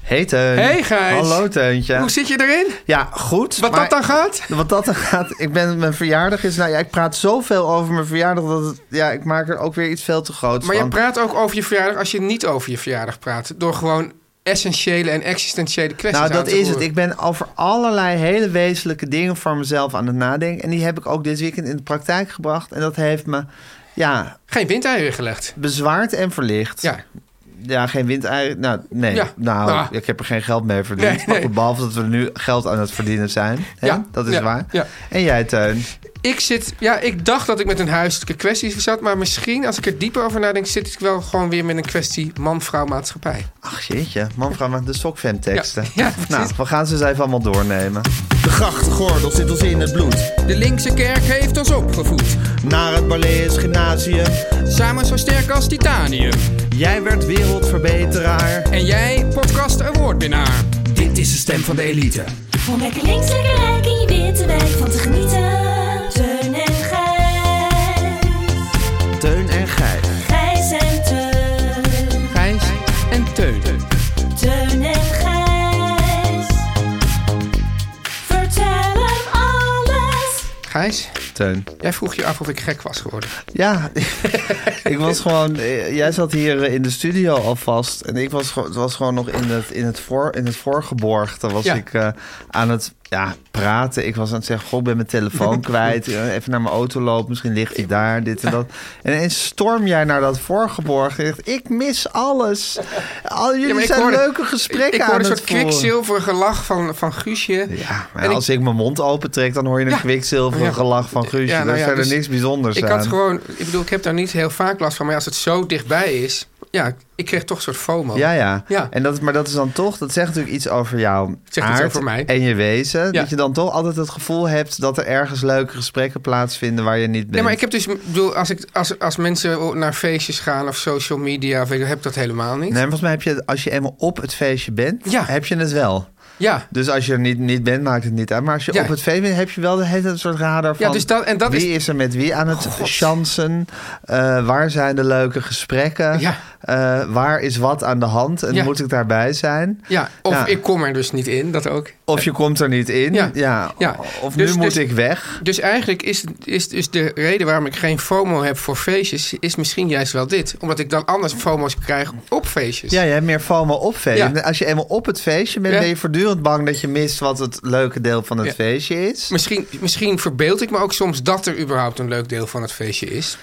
Hey Teun. Hey, Gijs. Hallo Teuntje. Hoe zit je erin? Ja, goed. Wat maar- dat dan gaat? Wat dat dan gaat. Ik ben, mijn verjaardag is... Nou ja, ik praat zoveel over mijn verjaardag dat het, ja, ik maak er ook weer iets veel te groots Maar je van. praat ook over je verjaardag als je niet over je verjaardag praat. Door gewoon essentiële en existentiële kwesties Nou, aan dat te is het. roeren. Ik ben over allerlei hele wezenlijke dingen voor mezelf aan het nadenken. En die heb ik ook dit weekend in de praktijk gebracht. En dat heeft me, ja, Geen windeieren gelegd. bezwaard en verlicht. Ja. Ja, geen windeieren. Nou, nee. Ja. Nou, Ah. ik heb er geen geld mee verdiend. Nee, nee. Behalve dat we nu geld aan het verdienen zijn. Hè? Ja. Dat is Ja. waar. Ja. En jij, Teun? Ik zit... Ja, ik dacht dat ik met een huiselijke kwestie zat. Maar misschien, als ik er dieper over nadenk... zit ik wel gewoon weer met een kwestie man-vrouw maatschappij. Ach jeetje, man, vrouw maakt de sokfam teksten. Ja, ja, precies. nou, we gaan ze eens even allemaal doornemen. De grachtgordel zit ons in het bloed. De linkse kerk heeft ons opgevoed. Naar het Balees Gymnasium. Samen zo sterk als titanium. Jij werd wereldverbeteraar. En jij, podcast awardwinnaar. Dit is de stem van de elite. Om lekker links, lekker rijk in je witte wijk van te genieten. Teun en Gijs. Teun en Gijs. Gijs en Teun. Gijs en Teun. Teun en Gijs. Vertel hem alles. Gijs, Teun. jij vroeg je af of ik gek was geworden. Ja, ik was gewoon. eh, Jij zat hier eh, in de studio alvast. En ik was, gewoon- was gewoon nog in het, in het, voor, in het voorgeborgte. Was Ja. ik eh, aan het ja, praten. Ik was aan het zeggen: Goh, ik ben mijn telefoon kwijt. Eh, Even naar mijn auto lopen. Misschien ligt hij daar. Dit en dat. En ineens storm jij naar dat voorgeborgte. en je zegt, Ik mis alles. Al jullie Ja, maar ik zijn hoorde- leuke gesprekken Ik aan hoorde een het soort voeren. kwikzilverige lach van, van Guusje. Ja, maar En ik- als ik... mijn mond opentrek, dan hoor je een Ja. kwikzilverige Ja. gelach van Guusje. Ja, nou Daar ja, is verder dus niks bijzonders Ik aan. had gewoon... Ik bedoel, ik heb daar niet heel vaak last van. Maar als het zo dichtbij is... Ja, ik kreeg toch een soort FOMO. Ja, ja. Oh. Ja. En dat, maar dat is dan toch, dat zegt natuurlijk iets over jouw zegt iets aard over mij. en je wezen. Ja. Dat je dan toch altijd het gevoel hebt dat er ergens leuke gesprekken plaatsvinden waar je niet bent. Nee, maar ik heb dus, ik bedoel, als, ik, als, als mensen naar feestjes gaan of social media, of weet ik, heb ik dat helemaal niet. Nee, maar volgens mij heb je, als je eenmaal op het feestje bent, Ja. heb je het wel. Ja, Dus als je er niet, niet bent, maakt het niet uit. Maar als je Ja. op het feest bent, heb je wel de hele tijd een soort radar van... Ja, dus dat- en dat wie is... is- er met wie aan het chansen? Eh, waar zijn de leuke gesprekken? Ja. Eh, waar is wat aan de hand? En Ja. moet ik daarbij zijn? ja. Of Ja. ik kom er dus niet in, dat ook. Of je komt er niet in. Ja. Ja. Ja. Of Dus- nu moet dus- ik weg. Dus eigenlijk is, is dus de reden waarom ik geen FOMO heb voor feestjes, is misschien juist wel dit. Omdat ik dan anders FOMO's krijg op feestjes. Ja, je hebt meer FOMO op feestje. Ja. Als je eenmaal op het feestje bent, Ja. ben je voortdurend bang dat je mist wat het leuke deel van het Ja. feestje is. Misschien, misschien verbeeld ik me ook soms dat er überhaupt een leuk deel van het feestje is.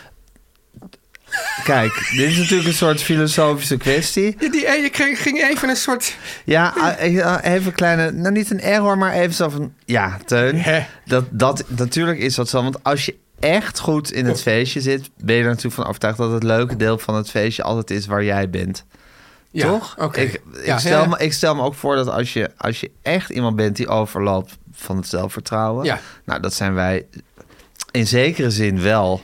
Kijk, dit is natuurlijk een soort filosofische kwestie. Ja, die ene kreeg, ging even een soort... Ja, eh, even een kleine, nou niet een error, maar even zo van, ja, Teun, Hè? dat, dat, natuurlijk is dat zo. Want als je echt goed in het feestje zit, ben je er natuurlijk van overtuigd dat het leuke deel van het feestje altijd is waar jij bent. Ja, Toch? Oké. Ik, ik, Ja, stel ja. Me, ik stel me ook voor dat als je, als je echt iemand bent die overloopt van het zelfvertrouwen, Ja. nou, dat zijn wij in zekere zin wel.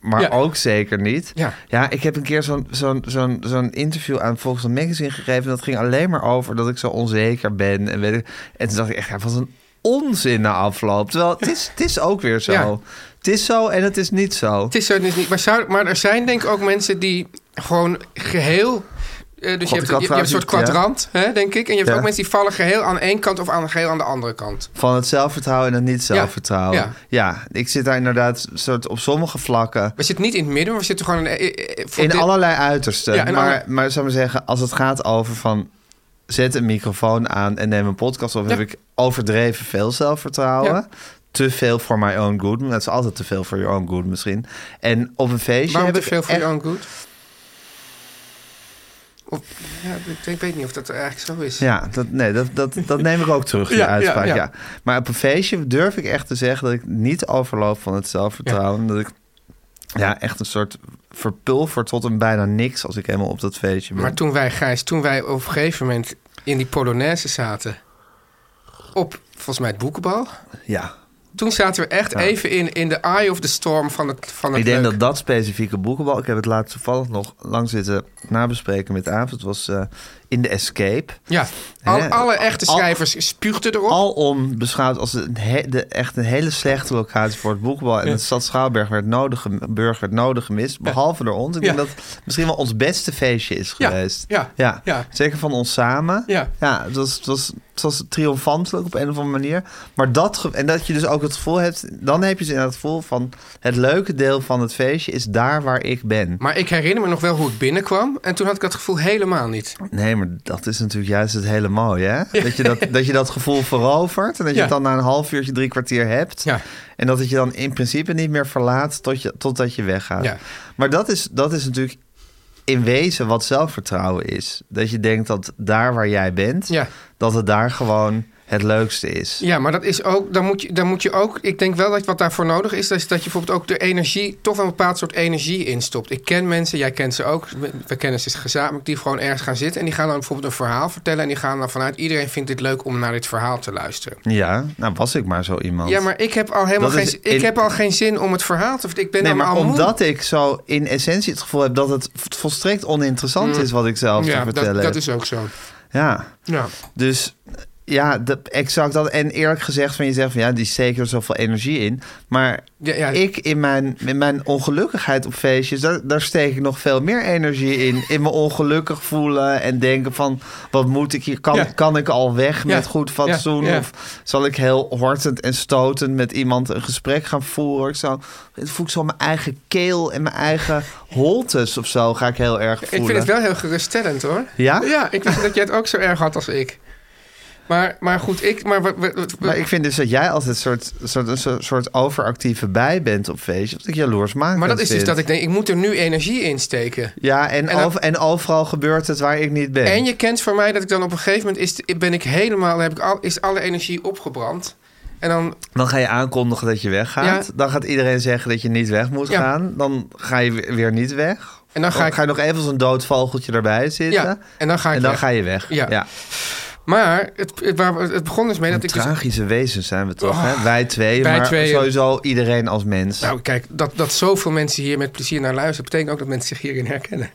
Maar Ja. ook zeker niet. Ja. ik heb een keer zo'n zo'n zo'n zo'n interview aan Volkswagen Magazine gegeven. En dat ging alleen maar over dat ik zo onzeker ben. En, weet ik, en toen dacht ik echt, ja, wat een onzin na afloop. Terwijl het is, het is ook weer zo. Ja. Het is zo en het is niet zo. Het is zo dus niet. Maar, zou, maar er zijn denk ik ook mensen die gewoon geheel Eh, dus God, je ik hebt, je, had je hebt een soort trouwens niet- kwadrant, hè, denk ik. En je hebt Ja. ook mensen die vallen geheel aan één kant of aan, geheel aan de andere kant. Van het zelfvertrouwen en het niet-zelfvertrouwen. Ja, Ja. ik zit daar inderdaad soort op sommige vlakken. We zitten niet in het midden, maar we zitten gewoon... In, eh, eh, voor In dit- allerlei uitersten. Ja, in maar, alle- maar zou ik maar zeggen, als het gaat over van... zet een microfoon aan en neem een podcast op... heb ik overdreven veel zelfvertrouwen. Ja. Te veel voor my own good. Dat is altijd te veel voor your own good misschien. En op een feestje Waarom heb te ik veel voor echt- your own good? Of, ja, ik, denk- ik weet niet of dat eigenlijk zo is. Ja, dat, nee, dat, dat, dat neem ik ook terug, die Ja, ja, uitspraak. Ja, ja. Maar op een feestje durf ik echt te zeggen... dat ik niet overloop van het zelfvertrouwen. Dat ik ja, echt een soort verpulver tot een bijna niks... als ik helemaal op dat feestje ben. Maar toen wij, Gijs, toen wij op een gegeven moment in die Polonaise zaten... op, volgens mij, het boekenbal... Ja, Toen zaten we echt even in, in de eye of the storm van het van het Ik denk leuk. dat dat specifieke boekenbal... Ik heb het laatst toevallig nog lang zitten nabespreken met Aaf. Het was eh, in de Escape. Ja, al, Hè, alle echte al- schrijvers spuugden erop. Alom beschouwd als een he- de, echt een hele slechte locatie voor het boekenbal. En de stad Schouwburg werd nodig, gem- Burg werd nodig gemist. Behalve door ons. Ik Ja. denk dat het misschien wel ons beste feestje is Ja, geweest. ja, ja. Zeker van ons samen. Ja. het, was, het, was, het was triomfantelijk op een of andere manier. Maar dat, ge- en dat je dus ook het gevoel hebt... Dan heb je dus inderdaad het gevoel van... Het leuke deel van het feestje is daar waar ik ben. Maar ik herinner me nog wel hoe ik binnenkwam. En toen had ik dat gevoel helemaal niet. Nee, maar dat is natuurlijk juist het hele mooie, hè? Dat je dat, dat, je dat gevoel verovert en dat je Ja. het dan na een half uurtje, drie kwartier hebt. Ja. En dat het je dan in principe niet meer verlaat tot je, totdat je weggaat. Ja. Maar dat is, dat is natuurlijk in wezen wat zelfvertrouwen is. Dat je denkt dat daar waar jij bent, Ja. dat het daar gewoon het leukste is. Ja, maar dat is ook, dan moet je, dan moet je ook. Ik denk wel dat wat daarvoor nodig is, dat, is dat je bijvoorbeeld ook de energie, toch wel een bepaald soort energie instopt. Ik ken mensen, jij kent ze ook. We, we kennen ze gezamenlijk, die gewoon ergens gaan zitten. En die gaan dan bijvoorbeeld een verhaal vertellen. En die gaan dan vanuit iedereen vindt dit leuk om naar dit verhaal te luisteren. Ja, nou was ik maar zo iemand. Ja, maar ik heb al helemaal Dat geen, is ik in- heb al geen zin om het verhaal te vertellen. Ik ben Nee, dan maar al moe. omdat ik zo in essentie het gevoel heb dat het volstrekt oninteressant is wat ik zelf te Mm. ja, vertellen dat, dat heb. is ook zo. Ja, Ja. Dus ja, de, exact dat. En eerlijk gezegd, van je zegt van ja, die steken er zoveel energie in. Maar Ja, ja. ik in mijn, in mijn ongelukkigheid op feestjes, daar, daar steek ik nog veel meer energie in. In me ongelukkig voelen en denken van wat moet ik hier? Kan, Ja. kan ik al weg Ja. met goed fatsoen? Ja. Ja. Of zal ik heel hortend en stotend met iemand een gesprek gaan voeren? Ik zou, voel ik zo mijn eigen keel en mijn eigen holtes of zo ga ik heel erg voelen. Ik vind het wel heel geruststellend hoor. Ja? Ja, ik wist dat jij het ook zo erg had als ik. Maar, maar goed, ik. Maar, wat- wat- wat- Maar ik vind dus dat jij altijd een soort, soort, een soort- soort overactieve bij bent op feestjes. Dat ik jaloers maak. maar dat is dus dat ik denk, ik moet er nu energie in steken. Ja, en, En dat- over- en overal gebeurt het waar ik niet ben. En je kent van mij dat ik dan op een gegeven moment is, ben ik helemaal, heb ik al, is alle energie opgebrand. En dan, Dan ga je aankondigen dat je weggaat. Ja. Dan gaat iedereen zeggen dat je niet weg moet Ja. gaan. Dan ga je weer- weer niet weg. En dan ga ik- Oh, ga je nog even als een dood vogeltje erbij zitten. Ja, en dan ga ik En dan weg. ga je weg. Ja. maar het, het, waar we- het begon dus mee dat ik. Dus, Oh, Tragische wezens zijn we toch, hè? Wij twee, Wij maar tweeën. sowieso iedereen als mens. nou, kijk, dat, dat zoveel mensen hier met plezier naar luisteren, betekent ook dat mensen zich hierin herkennen.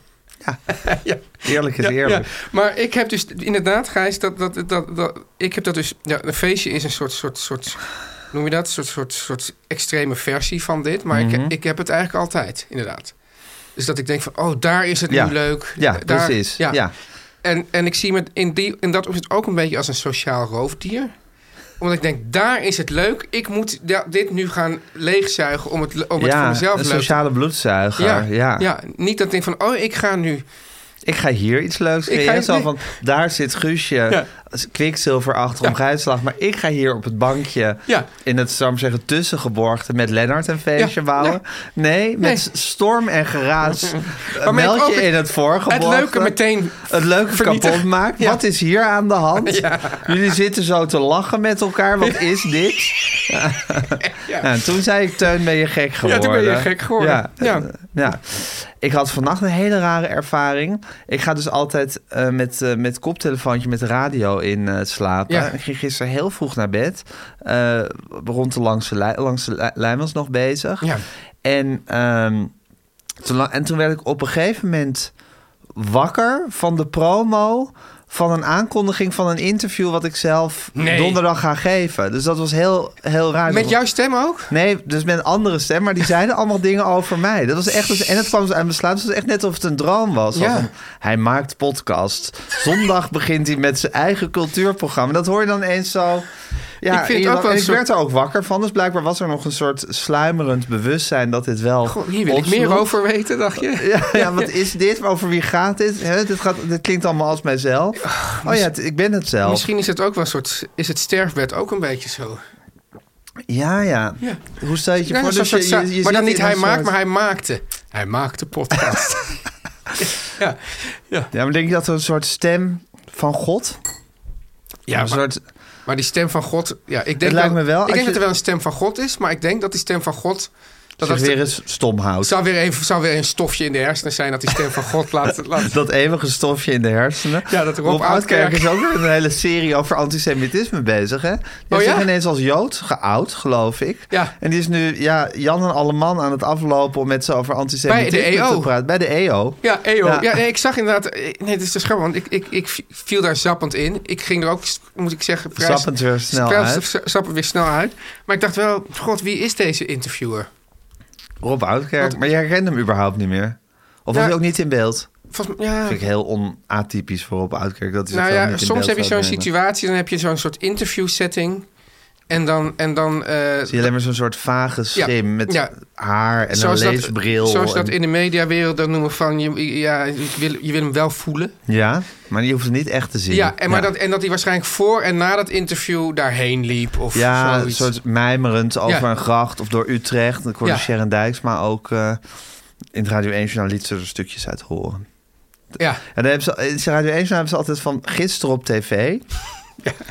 Ja, ja. eerlijk is Ja, eerlijk. ja. Maar ik heb dus inderdaad, Gijs, dat, dat, dat, dat, ik heb dat dus. Ja, een feestje is een soort, soort, soort noem je dat? Een soort, soort, soort extreme versie van dit. Maar Mhm. ik, ik heb het eigenlijk altijd, inderdaad. Dus dat ik denk van, oh, daar is het Ja. nu leuk. Ja, daar, precies. Ja. En, en ik zie me in, die, in dat opzicht ook een beetje als een sociaal roofdier omdat ik denk, daar is het leuk. Ik moet da- dit nu gaan leegzuigen om het, le- om het voor mezelf een leuk te sociale bloedzuiger. ja, ja. ja, niet dat ik denk van, oh, ik ga nu ik ga hier iets leuks Ik ga creëren. hier- Zo van, daar zit Guusje, Ja. als kwikzilverachtig om Gijsslag. Maar ik ga hier op het bankje, Ja. in het, zou ik maar zeggen, tussengeborgte... met Lennart een feestje Ja, bouwen. Nee, met Nee. storm en geraas een Waarmee ik melkje ook het- in het voorgeborgte. het leuke meteen Het leuke vernietigen. kapot maakt. Ja. Wat is hier aan de hand? Ja. Jullie zitten zo te lachen met elkaar. Wat is dit? Ja. Nou, en toen zei ik, Teun, ben je gek geworden? toen ben je gek geworden. Ja. Ja. Ja. Ik had vannacht een hele rare ervaring. Ik ga dus altijd eh, met, eh, met koptelefoontje met de radio in eh, slapen. Ja. Ik ging gisteren heel vroeg naar bed. Eh, rond de Langse, Lij- langs de Lij- Lijn was nog bezig. Ja. En, ehm, toen, la- en toen werd ik op een gegeven moment wakker van de promo van een aankondiging van een interview wat ik zelf Nee. donderdag ga geven. Dus dat was heel, heel raar. Met Dat- jouw stem ook? Nee, dus met een andere stem, maar die zeiden allemaal dingen over mij. Dat was echt, dus- en het kwam zo aan mijn slaap. Het was echt net of het een droom was. Zo Ja. van, hij maakt podcast. Zondag begint hij met zijn eigen cultuurprogramma. Dat hoor je dan eens zo. Ja, Ik vind in je het ook dag- wel en een ik soort- werd er ook wakker van. Dus blijkbaar was er nog een soort sluimerend bewustzijn dat dit wel. Goh, hier wil ik opsloeg. meer over weten, dacht je? Ja, ja, wat is dit? Over wie gaat dit? Hè, dit, gaat, dit klinkt allemaal als mijzelf. Oh ja, het- ik ben het zelf. Misschien is het ook wel een soort... Is het sterfbed ook een beetje zo? Ja, ja, Ja. Hoe stel je het je Ja, voor? zo'n Dus je- soort je- za- je zit maar dan niet in een hij maakt, soort- maar hij maakte. Hij maakte podcast. ja. Ja. Ja, maar denk je dat er een soort stem van God? Ja, een maar, soort. maar die stem van God... Ja, ik denk, Het lijkt me wel, ik als denk je- dat er wel een stem van God is, maar ik denk dat die stem van God... Dat zich als de- weer eens stom houdt. zou, weer even, zou weer een stofje in de hersenen zijn dat die stem van God laat... laat Dat eeuwige stofje in de hersenen. Ja, dat Rob Oudkerk Oudkerk- is ook weer een hele serie over antisemitisme bezig, hè? Die Oh is ja? zich ineens als Jood geout, geloof ik. Ja. En die is nu ja, Jan en Alleman aan het aflopen om met ze over antisemitisme Bij de EO. te praten. Bij de E EO. Ja, EO. Ja. Ja, nee, ik zag inderdaad... eh, Nee, het is te scherp, want ik, ik, ik viel daar zappend in. Ik ging er ook, moet ik zeggen... vrij- Zappend weer snel vrij uit. z- Zappend weer snel uit. Maar ik dacht wel, god, wie is deze interviewer? Rob Oudkerk. Wat- Maar je herkent hem überhaupt niet meer. Of was Nou, hij ook niet in beeld? Volgens mij... Ja. vind ik heel onatypisch voor Rob Oudkerk. Dat hij Nou zichzelf ja, niet in soms beeld heb je zou zo'n nemen. situatie, dan heb je zo'n soort interview setting. En dan. En dan eh, Zie je alleen maar zo'n soort vage schim met ja. haar en een leesbril. Dat, zoals dat en- in de mediawereld dan noemen van je, ja, ik wil, je wil hem wel voelen. Ja, maar je hoeft het niet echt te zien. Ja, en, maar Dat, en dat hij waarschijnlijk voor en na dat interview daarheen liep. Of Ja, een zoiets. soort mijmerend over Ja. een gracht of door Utrecht. Dan kon je Ja. Sharon Dijks, maar ook eh, in het Radio 1 Journaal liet ze er stukjes uit horen. ja. En dan hebben ze, in het Radio 1 Journaal hebben ze altijd van gisteren op tv.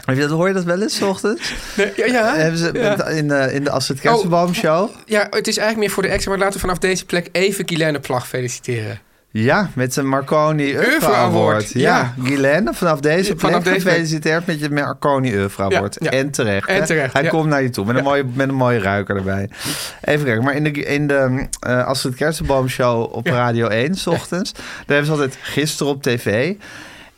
Heb je dat, hoor je dat wel eens, 's ochtends? Nee, Eh, ja, ja, Hebben ze Ah, ja. Oh. met- in, de, in de Astrid Kersenbaum show. Ja, het is eigenlijk meer voor de extra, maar laten we vanaf deze plek even Guylaine Plag feliciteren. Ja, met zijn Marconi Eufra Oeuvre Award. Award, Ja. ja. Guylaine, vanaf deze plek Vanaf deze plek. gefeliciteerd met je Marconi Eufra Award. Ja, ja. En terecht. En hè? terecht, Hij ja. komt naar je toe met een, mooie, met een mooie ruiker erbij. Even kijken, maar in de, in de eh Astrid Kersenboom show op Radio 1 's ochtends... daar hebben ze altijd gisteren op tv...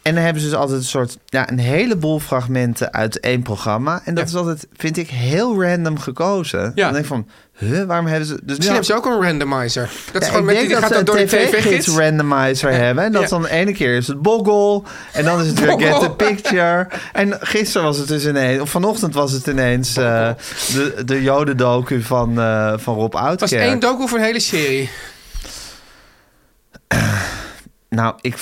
En dan hebben ze dus altijd een soort, ja, een heleboel fragmenten uit één programma. En dat is altijd, vind ik, heel random gekozen. Dan denk ik van, huh, waarom hebben ze... Dus nu Misschien had- hebben ze ook een randomizer. Dat is ja, gewoon ik met denk die dat eh, gaat ze dan een door de tv-gids tv-gids. randomizer hebben. En dat Ja. dan de ene keer is het Boggle. En dan is het weer Get the Boggle. Picture. En gisteren was het dus ineens... Of vanochtend was het ineens eh, de, de jodendoku van, eh, van Rob Het was één Oudkerk. docu voor een hele serie. Nou, ik,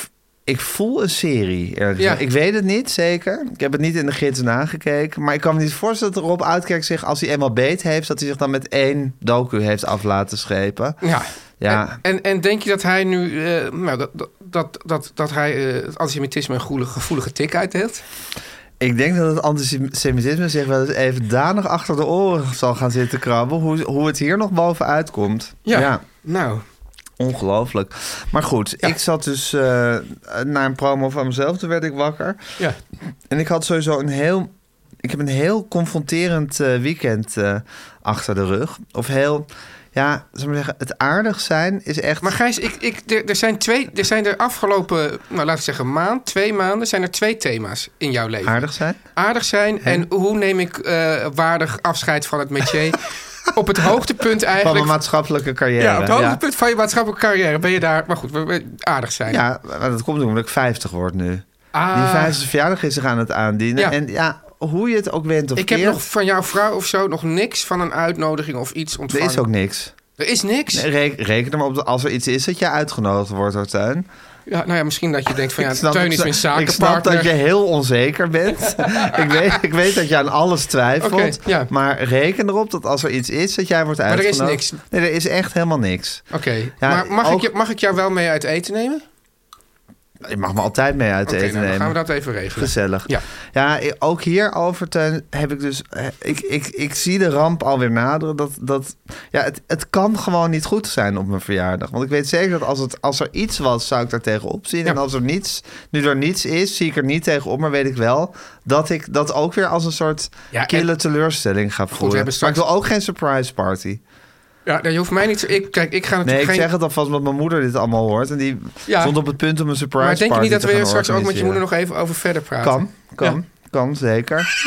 ik voel een serie ergens. Ja. Ik weet het niet zeker. Ik heb het niet in de gids nagekeken. Maar ik kan me niet voorstellen dat Rob Oudkerk zich... als hij eenmaal beet heeft... dat hij zich dan met één docu heeft af laten schepen. Ja. Ja. En, en, en denk je dat hij nu, eh, nou, dat, dat- dat, dat, dat hij eh, het antisemitisme een goele- gevoelige tik uitdeelt? Ik denk dat het antisemitisme zich wel eens even danig achter de oren zal gaan zitten krabben. Hoe, hoe het hier nog bovenuit komt. Nou, ongelooflijk. Maar goed, Ja. ik zat dus eh, na een promo van mezelf, toen werd ik wakker. ja. En ik had sowieso een heel. Ik heb een heel confronterend eh, weekend eh, achter de rug. Of heel. Ja, zou maar zeggen, het aardig zijn is echt. Maar Gijs, ik, ik, er, er zijn twee, er zijn er afgelopen, nou laten we zeggen maand, twee maanden, zijn er twee thema's in jouw leven. aardig zijn? Aardig zijn en hoe neem ik eh, waardig afscheid van het métier? op het hoogtepunt Van eigenlijk. mijn maatschappelijke carrière. ja, op het hoogtepunt van je maatschappelijke carrière ben je daar, maar goed, we- we- aardig zijn. Ja, maar dat komt omdat ik 50 word nu. Ah. Die 50 verjaardag is zich aan het aandienen. Ja. En ja, hoe je het ook went of Ik heb keert, nog van jouw vrouw of zo nog niks van een uitnodiging of iets er ontvangen. is ook niks. Er is niks. Nee, re- reken er maar op dat als er iets is dat je uitgenodigd wordt door Teun. Ja, nou ja, misschien dat je denkt van ja, Ik snap- Teun is ik mijn snap- Ik snap zakenpartner. dat je heel onzeker bent. ik, weet, ik weet dat je aan alles twijfelt. Oké, ja. Maar reken erop dat als er iets is dat jij wordt er is uitgenodigd. niks. Nee, er is echt helemaal niks. Oké, maar mag, ook- ik, je- mag ik jou wel mee uit eten nemen? Oké, Je mag me altijd mee uit nou, eten dan gaan nemen. we dat even regelen. Gezellig. Ja. ja, i- ook hierover Teun, heb ik dus. eh, Ik, ik, ik zie de ramp alweer naderen. Dat, dat, ja, het, het kan gewoon niet goed zijn op mijn verjaardag. Want ik weet zeker dat als, het, als er iets was, zou ik daar tegenop zien. Ja. En als er niets, nu er niets is, zie ik er niet tegenop. Maar weet ik wel dat ik dat ook weer als een soort Ja, en- kille teleurstelling ga voelen. hebben Maar straks- ik wil ook geen surprise party. Ja, nee, je hoeft mij niet zo... Ik, kijk, ik ga Nee, natuurlijk ik geen... zeg het alvast omdat mijn moeder dit allemaal hoort. En die Ja. stond op het punt om een surprise maar denk je party niet dat te we gaan hier straks ook met je organiseren. moeder nog even over verder praten? Kan, kan, kan, zeker.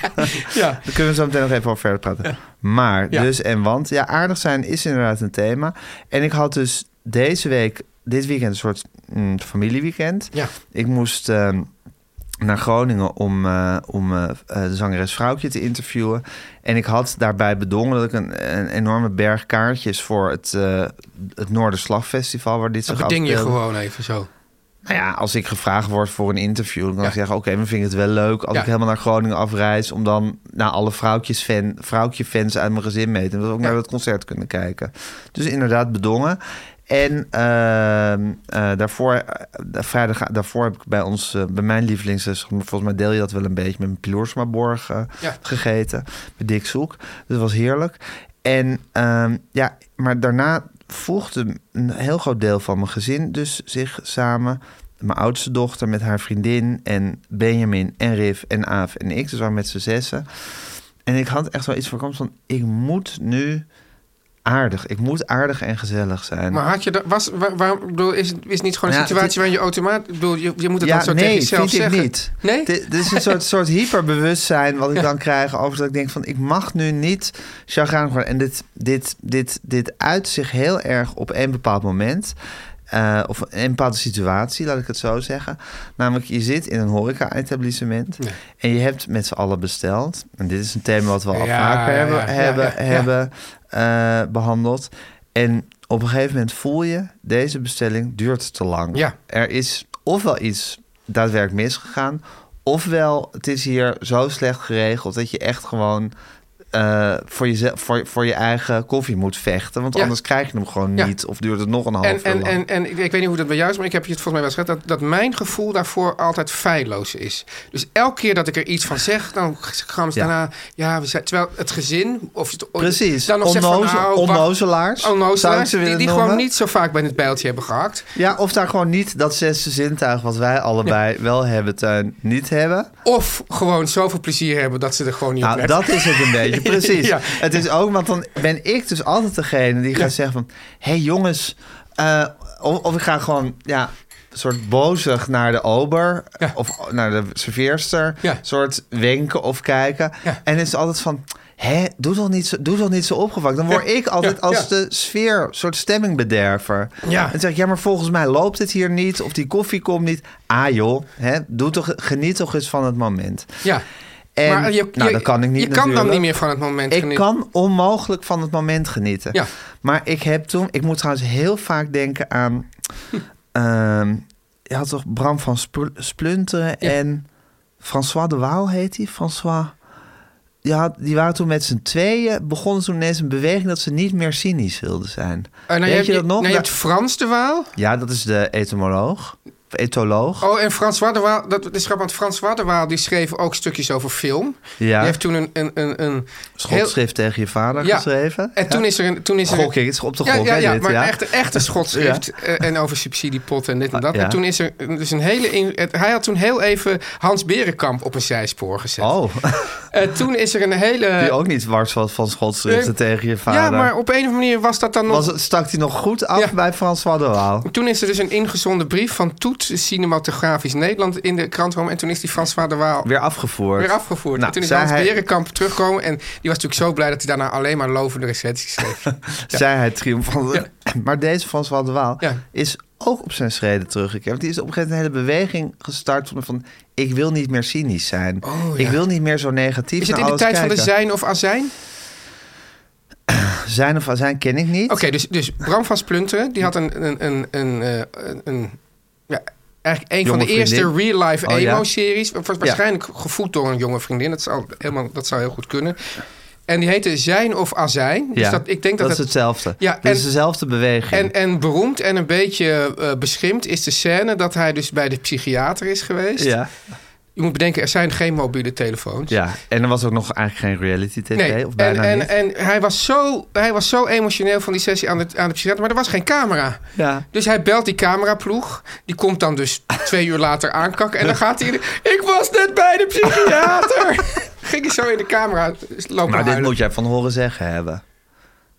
Ja, Ja. daar kunnen we zo meteen nog even over verder praten. Maar, Ja. dus en want. Ja, aardig zijn is inderdaad een thema. En ik had dus deze week, dit weekend, een soort mm, familieweekend. Ja. Ik moest ehm, naar Groningen om, eh, om eh, eh, de zangeres Vrouwtje te interviewen. En ik had daarbij bedongen dat ik een, een enorme berg kaartjes... voor het, eh het Noorderslagfestival, waar dit Dat zich beding je afspeelde. gewoon even zo. Nou ja, als ik gevraagd word voor een interview, dan kan Ja. ik zeggen: Oké, maar vind ik het wel leuk als Ja. ik helemaal naar Groningen afreis. om dan naar alle vrouwtjesfan, vrouwtjefans uit mijn gezin mee te. en dat we ook Ja. naar dat concert kunnen kijken. Dus inderdaad, bedongen. En ehm, eh, daarvoor, eh, de vrijdag, daarvoor heb ik bij ons, eh, bij mijn lievelingsrestaurant, volgens mij deel je dat wel een beetje met mijn Piloorsmaborg eh Ja. gegeten. Bij Dick Zoek. Dus dat was heerlijk. En ehm, ja, maar daarna voegde een heel groot deel van mijn gezin dus zich samen. Mijn oudste dochter met haar vriendin en Benjamin en Rif en Aaf en ik. Dus we waren met z'n zessen. En ik had echt wel iets voorkomst van... ik moet nu aardig. Ik moet aardig en gezellig zijn. Maar had je dat... Was, waar, waarom, bedoel, is, het- is het niet gewoon een Ja, situatie dit- waarin je automatisch... Bedoel, je, je moet het ja, dan zo nee, tegen jezelf vind ik zeggen. niet. Nee? Dit, dit is een soort, soort hyperbewustzijn wat ik dan krijg over dat ik denk van... ik mag nu niet chagrijnig worden. En dit, dit, dit, dit uit zich heel erg op een bepaald moment... eh, of een bepaalde situatie, laat ik het zo zeggen. Namelijk, je zit in een horeca-etablissement... en je hebt met z'n allen besteld. En dit is een thema wat we al Ja, vaker ja, hebben, ja, hebben, ja, ja. hebben eh, behandeld. En op een gegeven moment voel je... deze bestelling duurt te lang. Ja. Er is ofwel iets daadwerkelijk misgegaan, ofwel het is hier zo slecht geregeld dat je echt gewoon eh, voor, jezelf, voor, voor je eigen koffie moet vechten. Want Ja. anders krijg je hem gewoon Ja. niet of duurt het nog een half En, uur en, lang. en, en ik, ik weet niet hoe dat bij jou is, maar ik heb je het volgens mij wel eens gezegd... Dat, dat mijn gevoel daarvoor altijd feilloos is. Dus elke keer dat ik er iets van zeg, dan gaan ze Ja. daarna... Ja, we zijn, terwijl het gezin... Of, het- Precies, Dan nog zegt van, Onnoze- nou, wacht- onnozelaars, zou ik Onnozelaars, ze die, willen die noemen. gewoon niet zo vaak bij het bijltje hebben gehakt. Ja, of daar gewoon niet dat zesde zintuig wat wij allebei wel hebben, Tuin, niet hebben. Of gewoon zoveel plezier hebben dat ze er gewoon niet op Nou, letten. dat is het een beetje, precies. Ja. Het is ook, want dan ben ik dus altijd degene die gaat zeggen van... hé hey jongens, eh, of, of ik ga gewoon ja, een soort bozig naar de ober... Ja. of naar de serveerster, Ja. soort wenken of kijken. Ja. En het is altijd van... Hé, doe toch niet zo, doe toch niet zo opgevakt. Dan word Ja. ik altijd Ja. als Ja. de sfeer, soort stemmingbederver. Ja. En dan zeg ik, ja, maar volgens mij loopt het hier niet. Of die koffie komt niet. Ah joh, hè, doe toch, geniet toch eens van het moment. Ja. En, nou, dat kan ik niet eh, Je kan dan natuurlijk. niet meer van het moment Ik genieten. kan onmogelijk van het moment genieten. Ja. Maar ik heb toen... Ik moet trouwens heel vaak denken aan... ehm, je had toch Bram van Spl- Splunteren en... François de Waal heet hij? François... Ja, die waren toen met z'n tweeën... begonnen toen ineens een beweging... dat ze niet meer cynisch wilden zijn. Eh, nou, Weet hebt- je dat nog? nou, je Ja. hebt Frans de Waal. Ja, dat is de etymoloog. Of Etoloog. Oh, en Frans Wadderwaal, dat is grappig, want Frans Wadderwaal die schreef ook stukjes over film. Ja. Die heeft toen een... een, een, een Schotschrift tegen je vader heel- ja. geschreven. En toen is er een... Toen is er Gok een- ik, het is op de ja, gok, ja, hè, ja, dit, maar ja. echt, echt een schotschrift. eh, En over subsidiepotten en dit en dat. Ah, ja. En toen is er dus een hele... in- het- hij had toen heel even Hans Berenkamp op een zijspoor gezet. Oh, Eh, toen is er een hele... die ook niet wars was van schotschriften nee. tegen je vader. ja, maar op een of andere manier was dat dan nog... Was het, stak hij nog goed af Ja. bij François de Waal? Toen is er dus een ingezonden brief van Toet Cinematografisch Nederland in de krant gekomen. En toen is die François de Waal Weer afgevoerd. weer afgevoerd. Nou, en toen is zei Hans hij- Berenkamp teruggekomen. En die was natuurlijk zo blij dat hij daarna alleen maar lovende recensies schreef. Zei hij triomfant. Maar deze François de Waal Ja. is ook op zijn schreden teruggekeerd. Want die is op een gegeven moment een hele beweging gestart van... van ik wil niet meer cynisch zijn. Oh, Ik ja. wil niet meer zo negatief is het naar in de alles tijd van de kijken. zijn of azijn? Zijn of zijn ken ik niet. Oké, dus, dus Bram van Splunteren, die had een... een, een, een, eh, een, een- ja, eigenlijk een van Jonge de eerste vriendin. real-life Oh, ja. emo-series. Wa- wa- Waarschijnlijk gevoed door een jonge vriendin. Dat zou, helemaal, dat zou heel goed kunnen. En die heette Zijn of Azijn. Dus Ja, dat, ik denk dat, is het- hetzelfde. Ja, Het is en- dezelfde beweging. En, en beroemd en een beetje eh, beschimd is de scène dat hij dus bij de psychiater is geweest. ja. Je moet bedenken, er zijn geen mobiele telefoons. ja, en er was ook nog eigenlijk geen reality tv. Nee, Of en, bijna en, niet. en hij, was zo, hij was zo emotioneel van die sessie aan de, aan de psychiater, maar er was geen camera. Ja. Dus hij belt die cameraploeg, die komt dan dus twee uur later aankakken en dan gaat hij... in de- Ik was net bij de psychiater! Ging hij zo in de camera lopen Maar dit huilen. moet jij van horen zeggen hebben.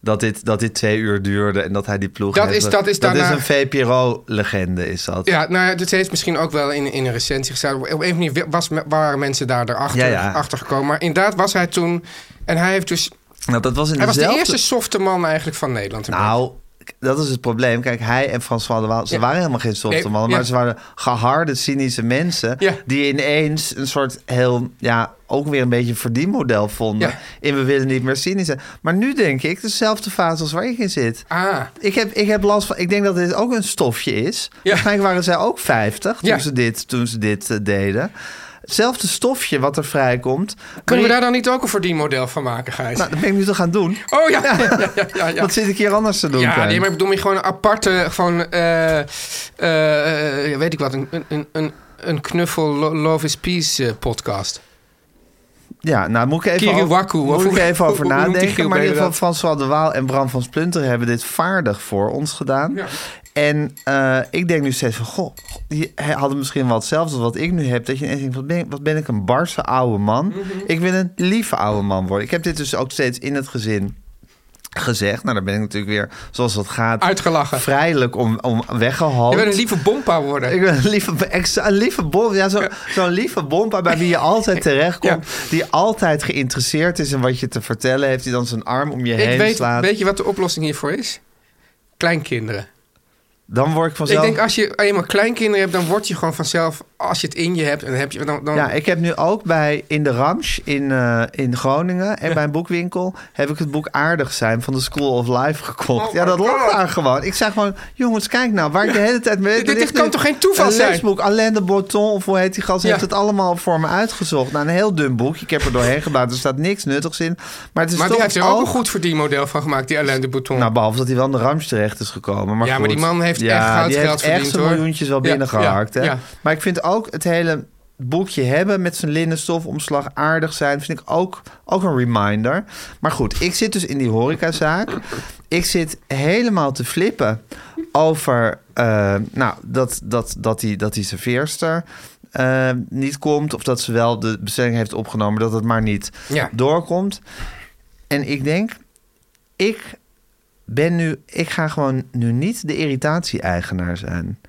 dat dit, dat dit twee uur duurde en dat hij die ploeg Dat heeft. is- dat is daarna- een VPRO-legende, is dat. Ja, nou ja, dit heeft misschien ook wel in, in een recensie gestaan. Op een of andere manier was, waren mensen daar erachter, Ja, ja. achter gekomen. Maar inderdaad was hij toen... En hij heeft dus... Nou, dat was in Hij was de dezelfde- eerste softe man eigenlijk van Nederland. een Nou, dat is het probleem. Kijk, hij en François de Waal, ze Ja. waren helemaal geen softe Nee, mannen, maar ja. ze waren geharde, cynische mensen Ja. die ineens een soort heel, ja, ook weer een beetje een verdienmodel vonden. Ja. In we willen niet meer cynisch zijn. Maar nu denk ik, dezelfde fase als waar ik in zit. beetje. Ah, Ik heb, ik heb last van. Ik denk dat dit ook een stofje is. Waarschijnlijk waren zij ook 50 toen Ja. ze dit, toen ze dit eh, deden. Hetzelfde stofje wat er vrijkomt. kunnen we Maar- daar dan niet ook een verdienmodel van maken, Gijs? Nou, dat ben ik nu toch gaan doen. oh ja, ja, ja, ja, ja, ja. Wat zit ik hier anders te doen? Ja, Teun? nee, maar ik bedoel meer gewoon een aparte, gewoon, eh, eh, eh, weet ik wat, een, een, een, een knuffel Lo- Love is Peace eh, podcast. Ja, nou moet ik even, Kiriwaku, over, of moet ik hoe- even hoe- over hoe noemt die nadenken. groep Maar in ieder geval inderdaad? François de Waal en Bram van Splunter hebben dit vaardig voor ons gedaan. Ja. En eh, ik denk nu steeds van, goh, die hadden misschien wel hetzelfde als wat ik nu heb. Dat je ineens denkt, wat ben, ik- wat ben ik een barse oude man. Mhm. Ik wil een lieve oude man worden. Ik heb dit dus ook steeds in het gezin gezegd. Nou, daar ben ik natuurlijk weer, zoals dat gaat... Uitgelachen. Vrijelijk om, om weggehaald. Je wil een lieve bompa worden. Ik ben een lieve, ex- een lieve bompa. Ja, zo, Zo'n lieve bompa bij wie je altijd terechtkomt. Die altijd geïnteresseerd is in wat je te vertellen heeft. Die dan zijn arm om je heen Ik weet, slaat. weet je wat de oplossing hiervoor is? Kleinkinderen. dan word ik vanzelf... Ik denk als je eenmaal kleinkinderen hebt, dan word je gewoon vanzelf, als je het in je hebt, en heb je dan. dan Ja, ik heb nu ook bij In de Ramsch in, eh, in Groningen en bij een boekwinkel heb ik het boek Aardig zijn van de School of Life gekocht. Oh ja, my dat lag God. daar gewoon. Ik zei gewoon, jongens, kijk nou, waar ik de hele tijd mee. Dit- er dit ligt kan nu toch geen toeval een zijn? Lesboek, Alain de Botton of hoe heet die gast, Ja. heeft het allemaal voor me uitgezocht. Nou, een heel dun boek. Ik heb er doorheen gebouwd, er staat niks nuttigs in. Maar het is maar toch die heeft er ook ook- een goed verdienmodel van gemaakt, die Alain de Bouton. nou, behalve dat hij wel in de Rams terecht is gekomen. Maar Ja, maar goed. die man heeft echt goud die heeft geld verdiend, echt zijn hoor. miljoentjes wel Ja, binnengehakt. ja, hè? ja. Maar ik vind ook het hele boekje hebben met zijn linnenstofomslag aardig zijn... vind ik ook, ook een reminder. Maar goed, ik zit dus in die horecazaak. Ik zit helemaal te flippen over eh, nou, dat, dat, dat, die, dat die serveerster... eh, niet komt of dat ze wel de bestelling heeft opgenomen, dat het maar niet Ja. doorkomt. En ik denk, ik ben nu, ik ga gewoon nu niet de irritatie-eigenaar zijn.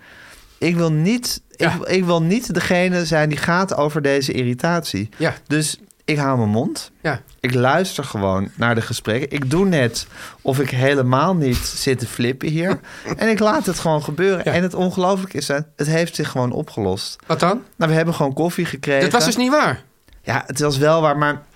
Ik wil niet, Ja. ik, ik wil niet degene zijn die gaat over deze irritatie. Ja. Dus ik hou mijn mond. Ja. Ik luister gewoon naar de gesprekken. Ik doe net of ik helemaal niet zit te flippen hier. en ik laat het gewoon gebeuren. En het ongelooflijk is, hè, het heeft zich gewoon opgelost. Wat dan? Nou, we hebben gewoon koffie gekregen. Dat was dus niet waar. Ja, het was wel waar, maar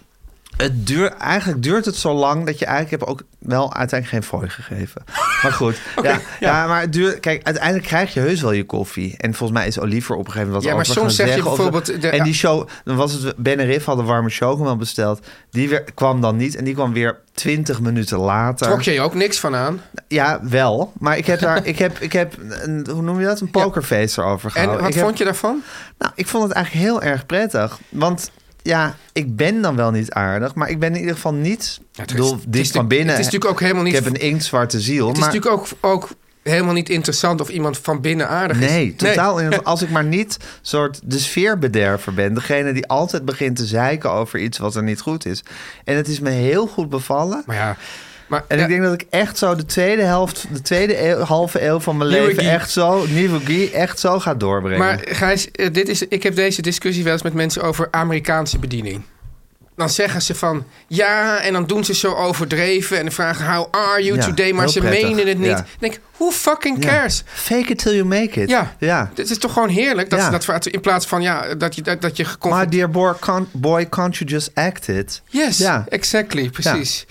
het duurt, eigenlijk duurt het zo lang dat je eigenlijk heb ook wel uiteindelijk geen fooi gegeven. Maar goed, ja, ja. maar het duurt, kijk, uiteindelijk krijg je heus wel je koffie. En volgens mij is Oliver op een gegeven moment wat Ja, maar over gaan soms zeg je zeggen of- bijvoorbeeld de- en die show, dan was het Ben en Riff hadden warme chocomel besteld. Die weer, kwam dan niet en die kwam weer 20 minuten later. Trok je je ook niks van aan. Ja, wel. Maar ik heb daar, ik heb, ik heb, een, hoe noem je dat? Een pokerface erover En gehouden. wat Ik heb- vond je daarvan? nou, ik vond het eigenlijk heel erg prettig. Want ja, ik ben dan wel niet aardig, maar ik ben in ieder geval niet. Ik het is- bedoel, het is diep van natuurlijk- binnen. het is natuurlijk ook helemaal niet- Ik heb een inktzwarte ziel. Het is maar natuurlijk ook, ook helemaal niet interessant of iemand van binnen aardig is. Nee, totaal. in- Als ik maar niet soort de sfeerbederver ben. Degene die altijd begint te zeiken over iets wat er niet goed is. En het is me heel goed bevallen. Maar ja, maar, En ja, ik denk dat ik echt zo de tweede helft, de tweede eeuw- halve eeuw van mijn Nieuwe leven, Guy. echt zo, nieuwe Guy, echt zo gaat doorbrengen. maar Gijs, eh, dit is, ik heb deze discussie wel eens met mensen over Amerikaanse bediening. Dan zeggen ze van ja, en dan doen ze zo overdreven en dan vragen how are you Ja, today, maar heel ze prettig. menen het niet. Ja. Ik denk, who fucking Ja. cares? Fake it till you make it. Ja. ja. Het is toch gewoon heerlijk dat Ja. ze dat ver- in plaats van ja, dat je, dat, dat je My geconfronteerd dear boy, can't, boy, can't you just act it? Yes, Ja. exactly, precies.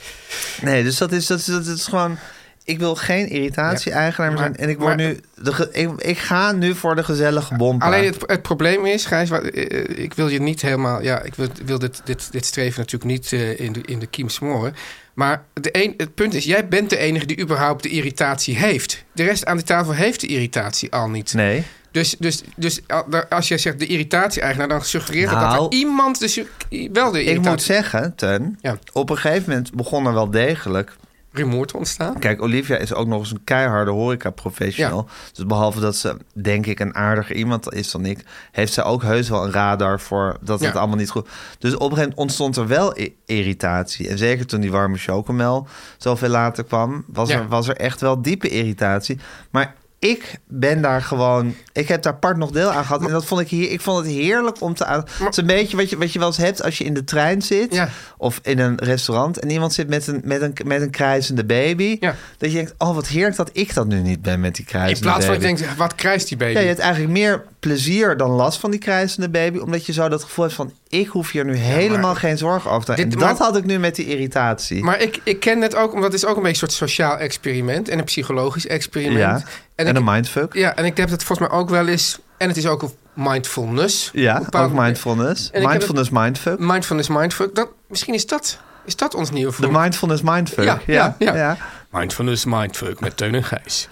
Nee, dus dat is, dat is, dat is gewoon... Ik wil geen irritatie-eigenaar meer maar- zijn. En ik, word maar- nu de ge- ik, ik ga nu voor de gezellige bompa. Alleen het, het probleem is, Gijs, wa- eh, eh, ik wil je niet helemaal. Ja, ik wil, wil dit, dit, dit streven natuurlijk niet eh, in, de, in de kiem smoren. Maar de een, het punt is, jij bent de enige die überhaupt de irritatie heeft. De rest aan de tafel heeft de irritatie al niet. Nee. Dus, dus, dus al- daar- als jij zegt de irritatie-eigenaar, dan suggereert dat Nou, dat er iemand dus wel de irritatie... Ik moet zeggen, Ten, Ja. op een gegeven moment begon er wel degelijk rumoer te ontstaan. Kijk, Olivia is ook nog eens een keiharde horeca-professional. Dus behalve dat ze, denk ik, een aardiger iemand is dan ik... heeft zij ook heus wel een radar voor dat Ja. het allemaal niet goed... Dus op een gegeven moment ontstond er wel i- irritatie. En zeker toen die warme chocomel zoveel later kwam... Was, Ja. er, was er echt wel diepe irritatie. Maar... Ik ben daar gewoon... Ik heb daar part nog deel aan gehad. en dat vond ik hier... Ik vond het heerlijk om te... aan- het is een beetje wat je, wat je wel eens hebt als je in de trein zit... Ja. of in een restaurant... en iemand zit met een, met een, met een krijzende baby... Ja. Dat je denkt, oh wat heerlijk dat ik dat nu niet ben met die kruisende In plaats van ik baby. denk, wat krijgt die baby? Ja, je hebt eigenlijk meer plezier dan last van die krijzende baby. Omdat je zo dat gevoel hebt van... ik hoef hier nu helemaal geen zorgen over te hebben. En Dit- dat maar- had ik nu met die irritatie. Maar ik, ik ken het ook, omdat het is ook een beetje een soort sociaal experiment en een psychologisch experiment. ja. En, En, ik, een mindfuck. ja, en ik heb dat volgens mij ook wel eens. En het is ook een mindfulness. Op een Ja, bepaalde ook manier. mindfulness. En ik heb Mindfulness mindfuck. Mindfulness, mindfuck. Dat, misschien is dat, is dat ons nieuwe De vorm. mindfulness mindfuck. Ja, Ja, ja, ja, ja. Mindfulness, mindfuck met Teun en Gijs.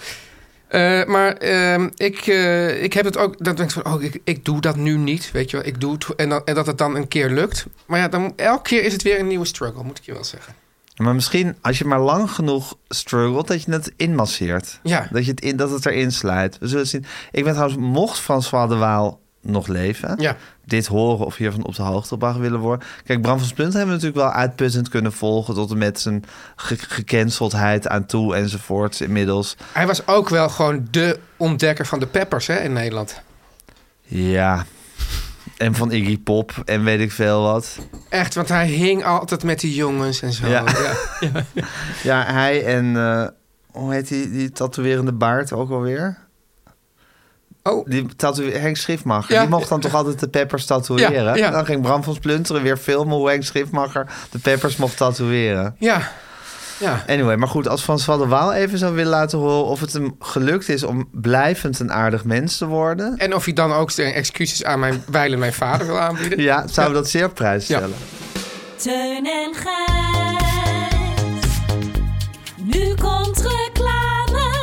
Eh, maar ehm, ik, eh, ik heb het ook, dat denk ik van, oh, ik, ik doe dat nu niet, weet je wel. Ik doe het, en, dan, en dat het dan een keer lukt. Maar ja, dan, elke keer is het weer een nieuwe struggle, moet ik je wel zeggen. Maar misschien als je maar lang genoeg struggelt... dat je het inmasseert. Ja. Dat, je het in, dat het erin sluit. We zullen zien. Ik ben trouwens, mocht François de Waal nog leven... Ja. dit horen of hiervan op de hoogte gebracht willen worden. Kijk, Bram van Splunten hebben we natuurlijk wel uitputtend kunnen volgen... tot en met zijn ge- gecanceldheid aan toe enzovoorts inmiddels. Hij was ook wel gewoon de ontdekker van de peppers hè, in Nederland. Ja, en van Iggy Pop en weet ik veel wat. Echt, want hij hing altijd met die jongens en zo. Ja. Ja. Ja. Ja, hij en... eh, hoe heet die, die tatoeërende baard ook alweer? Oh, Die tatoe Henk Schriftmacher. Ja. Die mocht dan toch altijd de Peppers tatoeëren? Ja, ja. Dan ging Bram van Splunteren weer filmen hoe Henk Schriftmacher de Peppers mocht tatoeëren. ja. Ja. Anyway, maar goed, als François de Waal even zou willen laten horen... of het hem gelukt is om blijvend een aardig mens te worden... En of hij dan ook zijn excuses aan mijn wijlen mijn vader wil aanbieden. ja, zou we dat zeer op prijs Ja. stellen. Teun en Gijs. Nu komt reclame.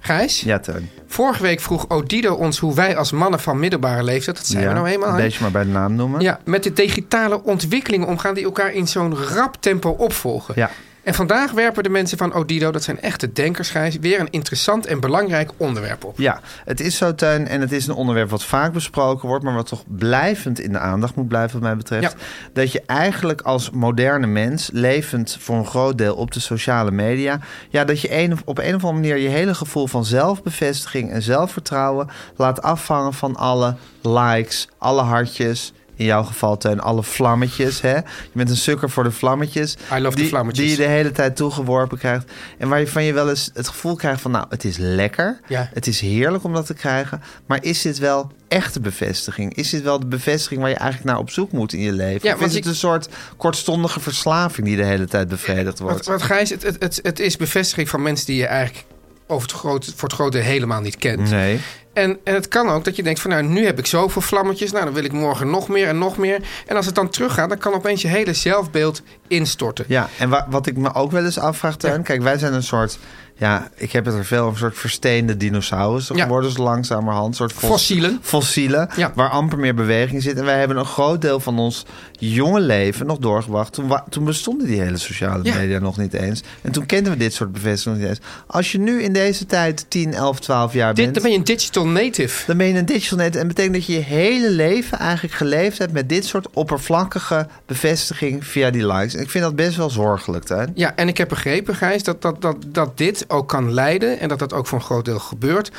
Gijs? Ja, Teun. Vorige week vroeg Odido ons hoe wij als mannen van middelbare leeftijd, dat zijn ja, we nou eenmaal, Een hè? beetje maar bij de naam noemen. ja, met de digitale ontwikkelingen omgaan die elkaar in zo'n rap tempo opvolgen. Ja. En vandaag werpen de mensen van Odido, dat zijn echte denkers, Gijs, weer een interessant en belangrijk onderwerp op. Ja, het is zo, Teun. En het is een onderwerp wat vaak besproken wordt... maar wat toch blijvend in de aandacht moet blijven wat mij betreft. Ja. Dat je eigenlijk als moderne mens... levend voor een groot deel op de sociale media... ja, dat je een, of- op een of andere manier... je hele gevoel van zelfbevestiging en zelfvertrouwen... laat afhangen van alle likes, alle hartjes... In jouw geval, Teun, alle vlammetjes. Hè? Je bent een sukker voor de vlammetjes. I love the die, vlammetjes. Die je de hele tijd toegeworpen krijgt. En waarvan je wel eens het gevoel krijgt van... nou, het is lekker. Ja. Het is heerlijk om dat te krijgen. Maar is dit wel echte bevestiging? Is dit wel de bevestiging waar je eigenlijk naar op zoek moet in je leven? Ja, of want is het ik- een soort kortstondige verslaving die de hele tijd bevredigd wordt? Want, want Gijs, het, het, het, het is bevestiging van mensen die je eigenlijk over het grote, voor het grote deel helemaal niet kent. Nee. En, en het kan ook dat je denkt van nou, nu heb ik zoveel vlammetjes. Nou, dan wil ik morgen nog meer en nog meer. En als het dan teruggaat, dan kan opeens je hele zelfbeeld instorten. Ja, en wa- wat ik me ook wel eens afvraag, Teun. Ja. Kijk, wij zijn een soort... Ja, ik heb het er veel over, een soort versteende dinosaurussen Ja. geworden. Dus langzamerhand. Een soort fos- Fossielen. Fossielen, Ja. waar amper meer beweging zit. En wij hebben een groot deel van ons jonge leven nog doorgebracht. Toen, wa- toen bestonden die hele sociale Ja. media nog niet eens. En toen kenden we dit soort bevestigingen nog niet eens. Als je nu in deze tijd 10, 11, 12 jaar Dit, bent... dan ben je een digital native. Dan ben je een digital net en betekent dat je je hele leven eigenlijk geleefd hebt met dit soort oppervlakkige bevestiging via die likes. En ik vind dat best wel zorgelijk, hè? Ja, en ik heb begrepen, Gijs, dat, dat, dat, dat dit ook kan leiden... en dat dat ook voor een groot deel gebeurt...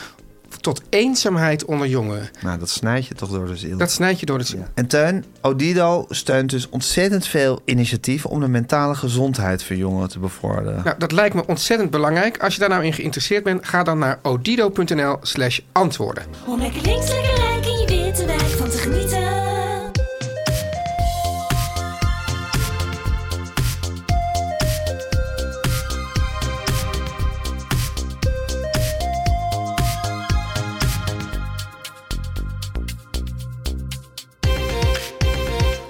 tot eenzaamheid onder jongeren. Nou, dat snijd je toch door de ziel. Dat snijd je door het... Ja. En Teun, Odido steunt dus ontzettend veel initiatieven om de mentale gezondheid van jongeren te bevorderen. Nou, dat lijkt me ontzettend belangrijk. Als je daar nou in geïnteresseerd bent, ga dan naar odido.nl slash antwoorden. Om lekker links, lekker rijk in je witte wijk van te genieten.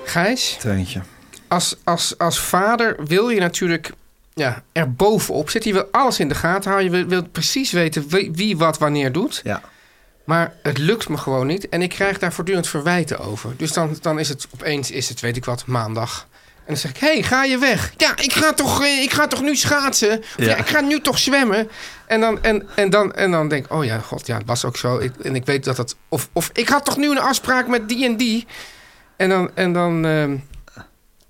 Gijs, Teuntje. als, als, als vader wil je natuurlijk ja, er bovenop zitten. Je wil alles in de gaten houden. Je wil, wilt precies weten wie, wie wat wanneer doet. Ja. Maar het lukt me gewoon niet. En ik krijg daar voortdurend verwijten over. Dus dan, dan is het opeens, is het, weet ik wat, maandag. dan zeg ik, hé, hey, ga je weg? Ja, ik ga toch, eh, ik ga toch nu schaatsen? Of ja. Ja. ik ga nu toch zwemmen? En dan, en, en dan, en dan denk ik, oh ja, god, ja, het was ook zo. Ik, en ik weet dat dat... Of, of ik had toch nu een afspraak met die en die? En dan... En dan ehm,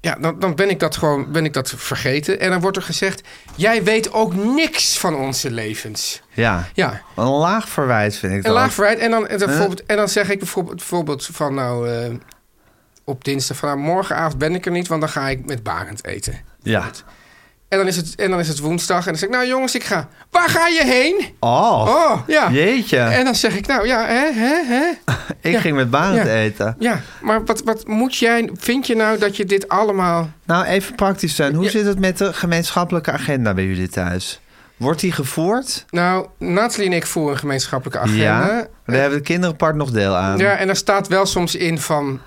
ja, dan, dan ben ik dat gewoon ben ik dat vergeten. En dan wordt er gezegd: Jij weet ook niks van onze levens. Ja. Ja, Een laag verwijt vind ik en dat. laag verwijt. En dan, en, dan bijvoorbeeld, en dan zeg ik bijvoorbeeld, bijvoorbeeld van nou eh, op dinsdag van nou, morgenavond ben ik er niet, want dan ga ik met Barend eten. Ja. En dan is het, en dan is het woensdag en dan zeg ik nou jongens, ik ga. Waar ga je heen? Oh, Oh ja. jeetje. En dan zeg ik nou ja, hè, hè, hè. ik ging met Barend Ja. eten. Ja, maar wat, wat moet jij? Vind je nou dat je dit allemaal? Nou, even praktisch zijn. Hoe Ja. zit het met de gemeenschappelijke agenda bij jullie thuis? Wordt die gevoerd? Nou, Nathalie en ik voeren een gemeenschappelijke agenda. Ja. Daar hebben de kinderpart nog deel aan. Ja, en daar staat wel soms in van,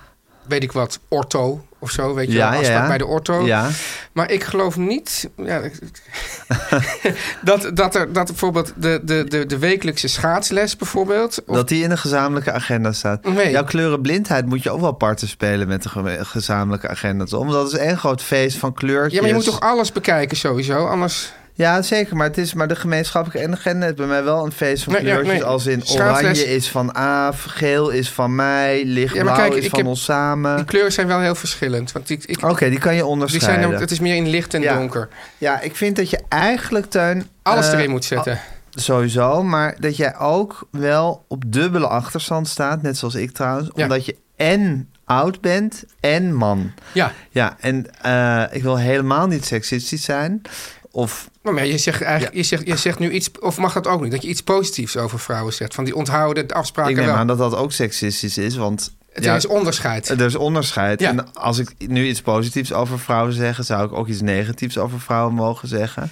weet ik wat, ortho of zo, weet je wel, afspraak bij de ortho. Ja. Maar ik geloof niet ja, dat, dat, er, dat bijvoorbeeld de, de, de, de wekelijkse schaatsles bijvoorbeeld... Of, Dat die in de gezamenlijke agenda staat. Nee. Jouw kleurenblindheid moet je ook wel parten spelen met de geme- gezamenlijke agenda. toch? Want dat is één groot feest van kleurtjes. ja, maar je moet toch alles bekijken sowieso, anders... Ja, zeker. Maar, het is, maar de gemeenschappelijke agenda is bij mij wel een feest van Nee, ja, kleurtjes. nee. Als in Schaatsles- oranje is van Aaf, geel is van mij, Ja, maar lichtblauw kijk, is ik van heb- ons samen. Die kleuren zijn wel heel verschillend, want ik, ik, Oké, die kan je die onderscheiden. zijn, ook- het is meer in licht en Ja. donker. Ja, ik vind dat je eigenlijk, Teun... Alles eh, erin moet zetten. Sowieso, maar dat jij ook wel op dubbele achterstand staat, net zoals ik trouwens. Ja. Omdat je en oud bent en man. Ja, Ja, en eh, ik wil helemaal niet seksistisch zijn. Of maar ja, je zegt, eigenlijk, je, zegt, je zegt nu iets, of mag dat ook niet, dat je iets positiefs over vrouwen zegt. Van die onthouden de afspraken ik neem wel. aan dat dat ook seksistisch is, want... het ja, is onderscheid. er is onderscheid. Ja. En als ik nu iets positiefs over vrouwen zeg, zou ik ook iets negatiefs over vrouwen mogen zeggen.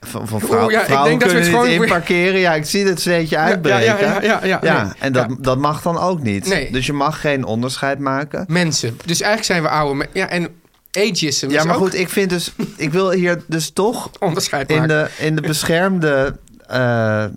Van, van vrouwen, ja, ik vrouwen denk dat we kunnen het niet gewoon- inparkeren. Ja, ik zie dat zweetje ja, uitbreken. ja, ja, ja, nee. en dat, Ja. dat mag dan ook niet. Nee. Dus je mag geen onderscheid maken. mensen. Dus eigenlijk zijn we oude mensen. Ja, en ageism Ja, is maar ook goed, ik vind dus... Ik wil hier dus toch onderscheid maken. in de, in de beschermde, eh, eh,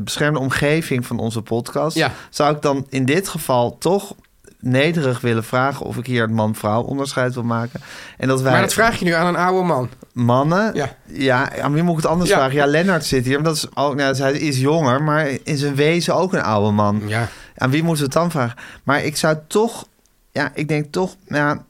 beschermde omgeving van onze podcast... Ja. zou ik dan in dit geval toch nederig willen vragen... of ik hier het man-vrouw onderscheid wil maken. En dat wij Maar dat vraag je nu aan een oude man. mannen... Ja. Ja. aan wie moet ik het anders Ja. vragen? Ja, Lennart zit hier. Maar dat is ook, nou, hij is jonger, maar in zijn wezen ook een oude man. Ja. Aan wie moeten we het dan vragen? Maar ik zou toch... Ja, ik denk toch... nou Ja,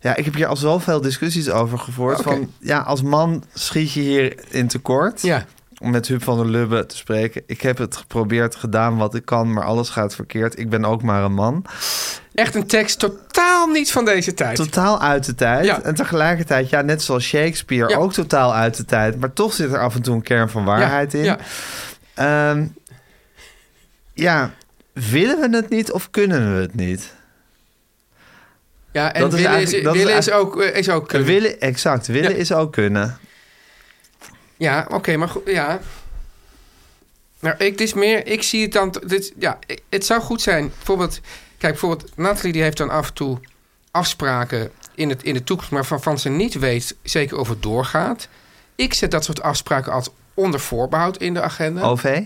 ja, ik heb hier al zoveel discussies over gevoerd. Oké. Van, ja, als man schiet je hier in tekort. Ja. Om met Huub van der Lubbe te spreken. Ik heb het geprobeerd, gedaan wat ik kan, maar alles gaat verkeerd. Ik ben ook maar een man. Echt een tekst totaal niet van deze tijd. Totaal uit de tijd. Ja. En tegelijkertijd, ja, net zoals Shakespeare, Ja. ook totaal uit de tijd. Maar toch zit er af en toe een kern van waarheid ja. in. Ja. Ehm, ja, willen we het niet of kunnen we het niet? ja, en Dat is willen, is, eigenlijk- dat is willen is ook... eh, Is ook eh, Willen, exact. Willen Ja. is ook kunnen. Ja, oké, maar goed. Ja. Nou, ik, dit is meer, ik zie het dan. Dit, ja, ik- het zou goed zijn. Bijvoorbeeld, kijk, bijvoorbeeld, Nathalie die heeft dan af en toe afspraken in, het, in de toekomst, maar waarvan ze niet weet zeker of het doorgaat. Ik zet dat soort afspraken altijd onder voorbehoud in de agenda. OV?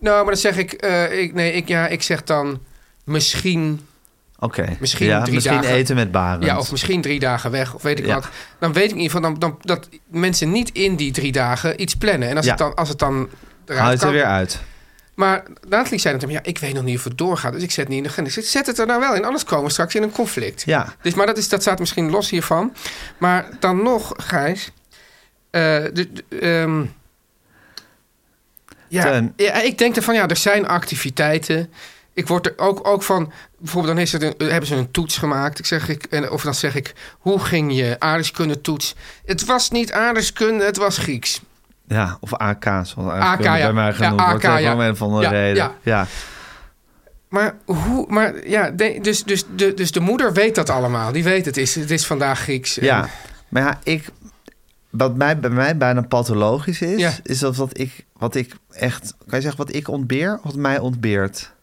Nou, maar dan zeg ik, eh, ik, nee, ik, ja, ik zeg dan misschien, Oké. Misschien ja, drie misschien dagen. eten met Barend. ja, of misschien drie dagen weg, of weet ik Ja. wat. Dan weet ik in ieder geval dan, dan, dat mensen niet in die drie dagen iets plannen. En als Ja. het dan, als het dan eruit Hou het kan, er weer uit. Maar Nathalie zei dat hem, ja, ik weet nog niet of het doorgaat, dus ik zet het niet in de agenda. Ik zeg, zet het er nou wel in, anders komen we straks in een conflict. Ja. Dus, maar dat, is, dat staat misschien los hiervan. Maar dan nog, Gijs, eh, de, de- ehm, ja, Teun. ja, ik denk ervan, ja, er zijn activiteiten. Ik word er ook, ook van, bijvoorbeeld dan is het een, hebben ze een toets gemaakt. Ik zeg, ik, en, of dan zeg ik, hoe ging je aardrijkskunde toets? Het was niet aardrijkskunde, het was Grieks. Ja, of AK, zoals AK, AK, ja. ja. bij mij Ja, genoemd AK, wordt. hè, ja. Voor een van de Ja, reden. ja. Ja. Maar hoe, maar ja, de- dus, dus, de, dus de moeder weet dat allemaal. Die weet het is, het is vandaag Grieks. Ja. Maar ja, ik, wat mij, bij mij bijna pathologisch is, Ja. is dat wat ik, wat ik echt, kan je zeggen wat ik ontbeer of wat mij ontbeert?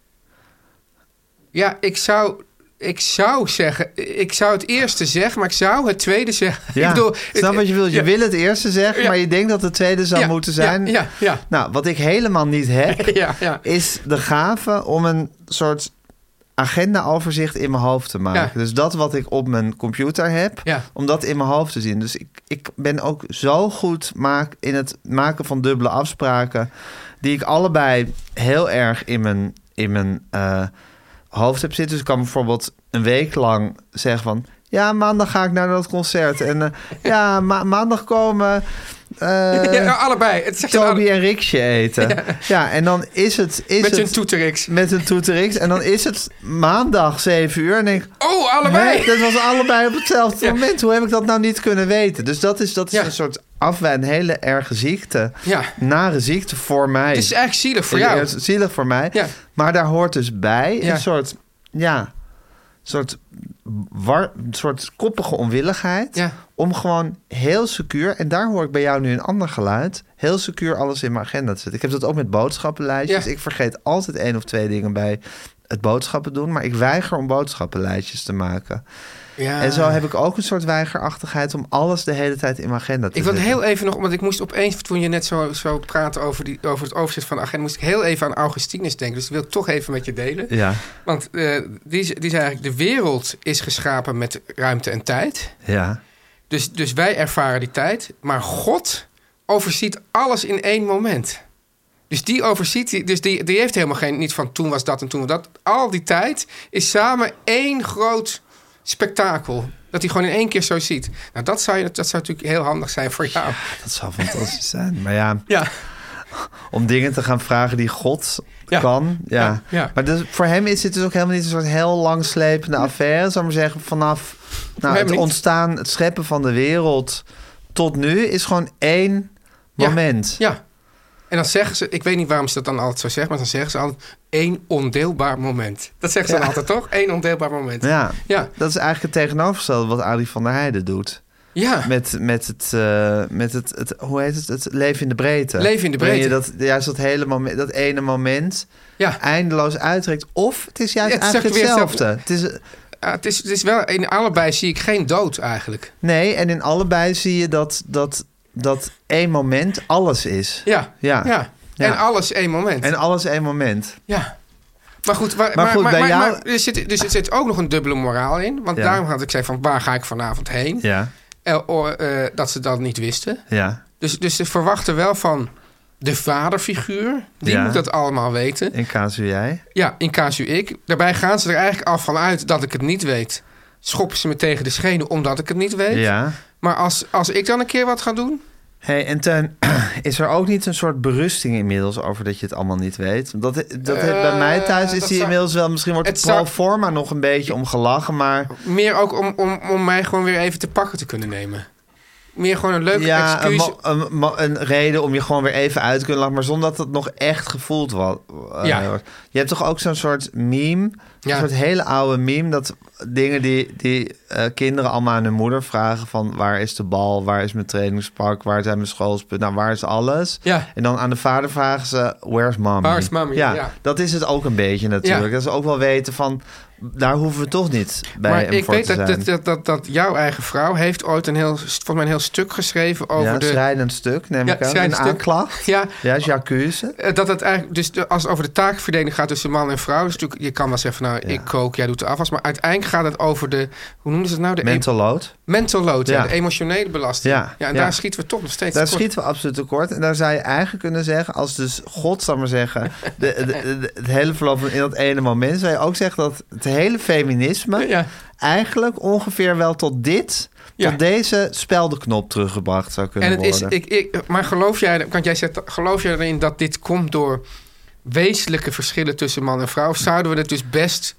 Ja, ik zou, ik zou zeggen, ik zou het eerste zeggen, maar ik zou het tweede zeggen. Ja, ik bedoel, snap het- wat je wilt. Je ja, wil het eerste zeggen, Ja. maar je denkt dat het tweede zou Ja, moeten ja, zijn. ja, ja. Nou, wat ik helemaal niet heb, Ja, ja. is de gave om een soort agenda-overzicht in mijn hoofd te maken. Ja. Dus dat wat ik op mijn computer heb, Ja. om dat in mijn hoofd te zien. Dus ik, ik ben ook zo goed maak, in het maken van dubbele afspraken, die ik allebei heel erg in mijn, in mijn eh, hoofd heb zitten. Dus ik kan bijvoorbeeld een week lang zeggen van... Ja, maandag ga ik naar dat concert. En eh, ja, ma- maandag komen... eh, ja, allebei. Het zegt je Toby alle- en Riksje eten. Ja. en dan is het... Is met het, hun toeterix. met een toeterix. En dan is het maandag 7 uur. En denk ik, Oh, hè, allebei! dat was allebei op hetzelfde Ja. moment. Hoe heb ik dat nou niet kunnen weten? Dus dat is, dat is Ja. een soort afwijn, een hele erge ziekte. Ja. Nare ziekte voor mij. Het is eigenlijk zielig voor Ja, jou. het is Zielig voor mij. Ja. Maar daar hoort dus bij Ja. een soort, ja, soort, war, een soort koppige onwilligheid. Ja. Om gewoon heel secuur, en daar hoor ik bij jou nu een ander geluid, heel secuur alles in mijn agenda te zetten. Ik heb dat ook met boodschappenlijstjes. Ja. Ik vergeet altijd één of twee dingen bij het boodschappen doen, maar ik weiger om boodschappenlijstjes te maken. Ja. En zo heb ik ook een soort weigerachtigheid om alles de hele tijd in mijn agenda te Ik wilde zetten. heel even nog, want ik moest opeens, toen je net zo, zo praatte over, die, over het overzicht van de agenda, moest ik heel even aan Augustinus denken. Dus dat wil ik toch even met je delen. Ja, Want eh, die, ze- die zei eigenlijk, de wereld is geschapen met ruimte en tijd. ja. Dus, dus wij ervaren die tijd. Maar God overziet alles in één moment. Dus die overziet, die- dus die, die heeft helemaal geen, niet van toen was dat en toen was dat. Al die tijd is samen één groot spektakel. Dat hij gewoon in één keer zo ziet. Nou, dat zou, je, dat zou natuurlijk heel handig zijn voor jou. Dat zou fantastisch zijn. Maar ja, Ja, om dingen te gaan vragen die God Ja. kan. Ja. Ja, ja. Maar dus, voor hem is dit dus ook helemaal niet een soort heel langslepende affaire. Zou ik maar zeggen, vanaf nou, hem het niet. ontstaan, het scheppen van de wereld tot nu is gewoon één Ja. moment. ja. En dan zeggen ze, ik weet niet waarom ze dat dan altijd zo zeggen, maar dan zeggen ze altijd één ondeelbaar moment. Dat zeggen ze dan altijd toch? Eén ondeelbaar moment. Ja. Ja. dat is eigenlijk het tegenovergestelde wat Arie van der Heijden doet. Ja. Met, met, het, eh, met het, het, hoe heet het, het leven in de breedte. Leven in de Waarin je breedte. dat, juist dat, hele moment, dat ene moment ja. eindeloos uitrekt. Of het is juist Ja, het is eigenlijk echt weer hetzelfde. Het is, Ah, het, is, het is wel, in allebei zie ik geen dood eigenlijk. Nee, en in allebei zie je dat, dat, dat één moment alles is. Ja. Ja. Ja. En alles één moment. En alles één moment. Ja. Maar goed, waar- Maar maar, goed, maar, bij maar- jou- maar er zit, dus er zit ook nog een dubbele moraal in. Want Ja. daarom had ik gezegd van waar ga ik vanavond heen? Ja, Eh, o- eh, dat ze dat niet wisten. ja. Dus, dus ze verwachten wel van de vaderfiguur. Die Ja. moet dat allemaal weten. In casu jij. Ja, in casu ik. Daarbij gaan ze er eigenlijk al van uit dat ik het niet weet. Schoppen ze me tegen de schenen omdat ik het niet weet. Ja. Maar als, als ik dan een keer wat ga doen... hey, en Teun, is er ook niet een soort berusting inmiddels over dat je het allemaal niet weet? Dat, dat bij mij thuis is Eh, dat die zou- inmiddels wel, misschien wordt Het het pro zou- forma nog een beetje om gelachen, maar Meer ook om, om, om mij gewoon weer even te pakken te kunnen nemen. Meer gewoon een leuke ja, een, excuus. mo- een, mo- een reden om je gewoon weer even uit te kunnen lachen, maar zonder dat het nog echt gevoeld wa- eh, Ja. wordt. Je hebt toch ook zo'n soort meme, Ja. een soort hele oude meme, dat dingen die, die eh, kinderen allemaal aan hun moeder vragen van waar is de bal, waar is mijn trainingspak, waar zijn mijn schoolspullen, nou waar is alles? Ja. En dan aan de vader vragen ze where's mommy? Where's mommy? Ja, Ja. dat is het ook een beetje natuurlijk. Ja. Dat ze ook wel weten van daar hoeven we toch niet bij maar hem ik voor weet te dat, zijn. dat, dat, dat, dat jouw eigen vrouw heeft ooit een heel, volgens mij een heel stuk geschreven over ja, de... schrijnend stuk, neem Ja, ik aan. Een schrijnend stuk. aanklacht. Ja, Ja, Jacuse. eh, dat het eigenlijk, dus de- als het over de taakverdeling gaat tussen man en vrouw, is natuurlijk, je kan wel zeggen van nou, ik kook, jij doet de afwas, maar uiteindelijk gaat het over de, hoe noemen ze het nou? De e- Mental load. mental load, ja, Ja. de emotionele belasting. Ja, en ja. daar schieten we toch nog steeds Daar tekort. schieten we absoluut tekort. En daar zou je eigenlijk kunnen zeggen, als dus God, zal ik maar zeggen, de, de- de- het hele verloop van in dat ene moment, zou je ook zeggen dat het hele feminisme Ja. eigenlijk ongeveer wel tot dit, Ja. tot deze speldenknop teruggebracht zou kunnen En het is, worden. ik, ik, maar geloof jij, want jij zegt, geloof jij erin dat dit komt door wezenlijke verschillen tussen man en vrouw? Of zouden we het dus best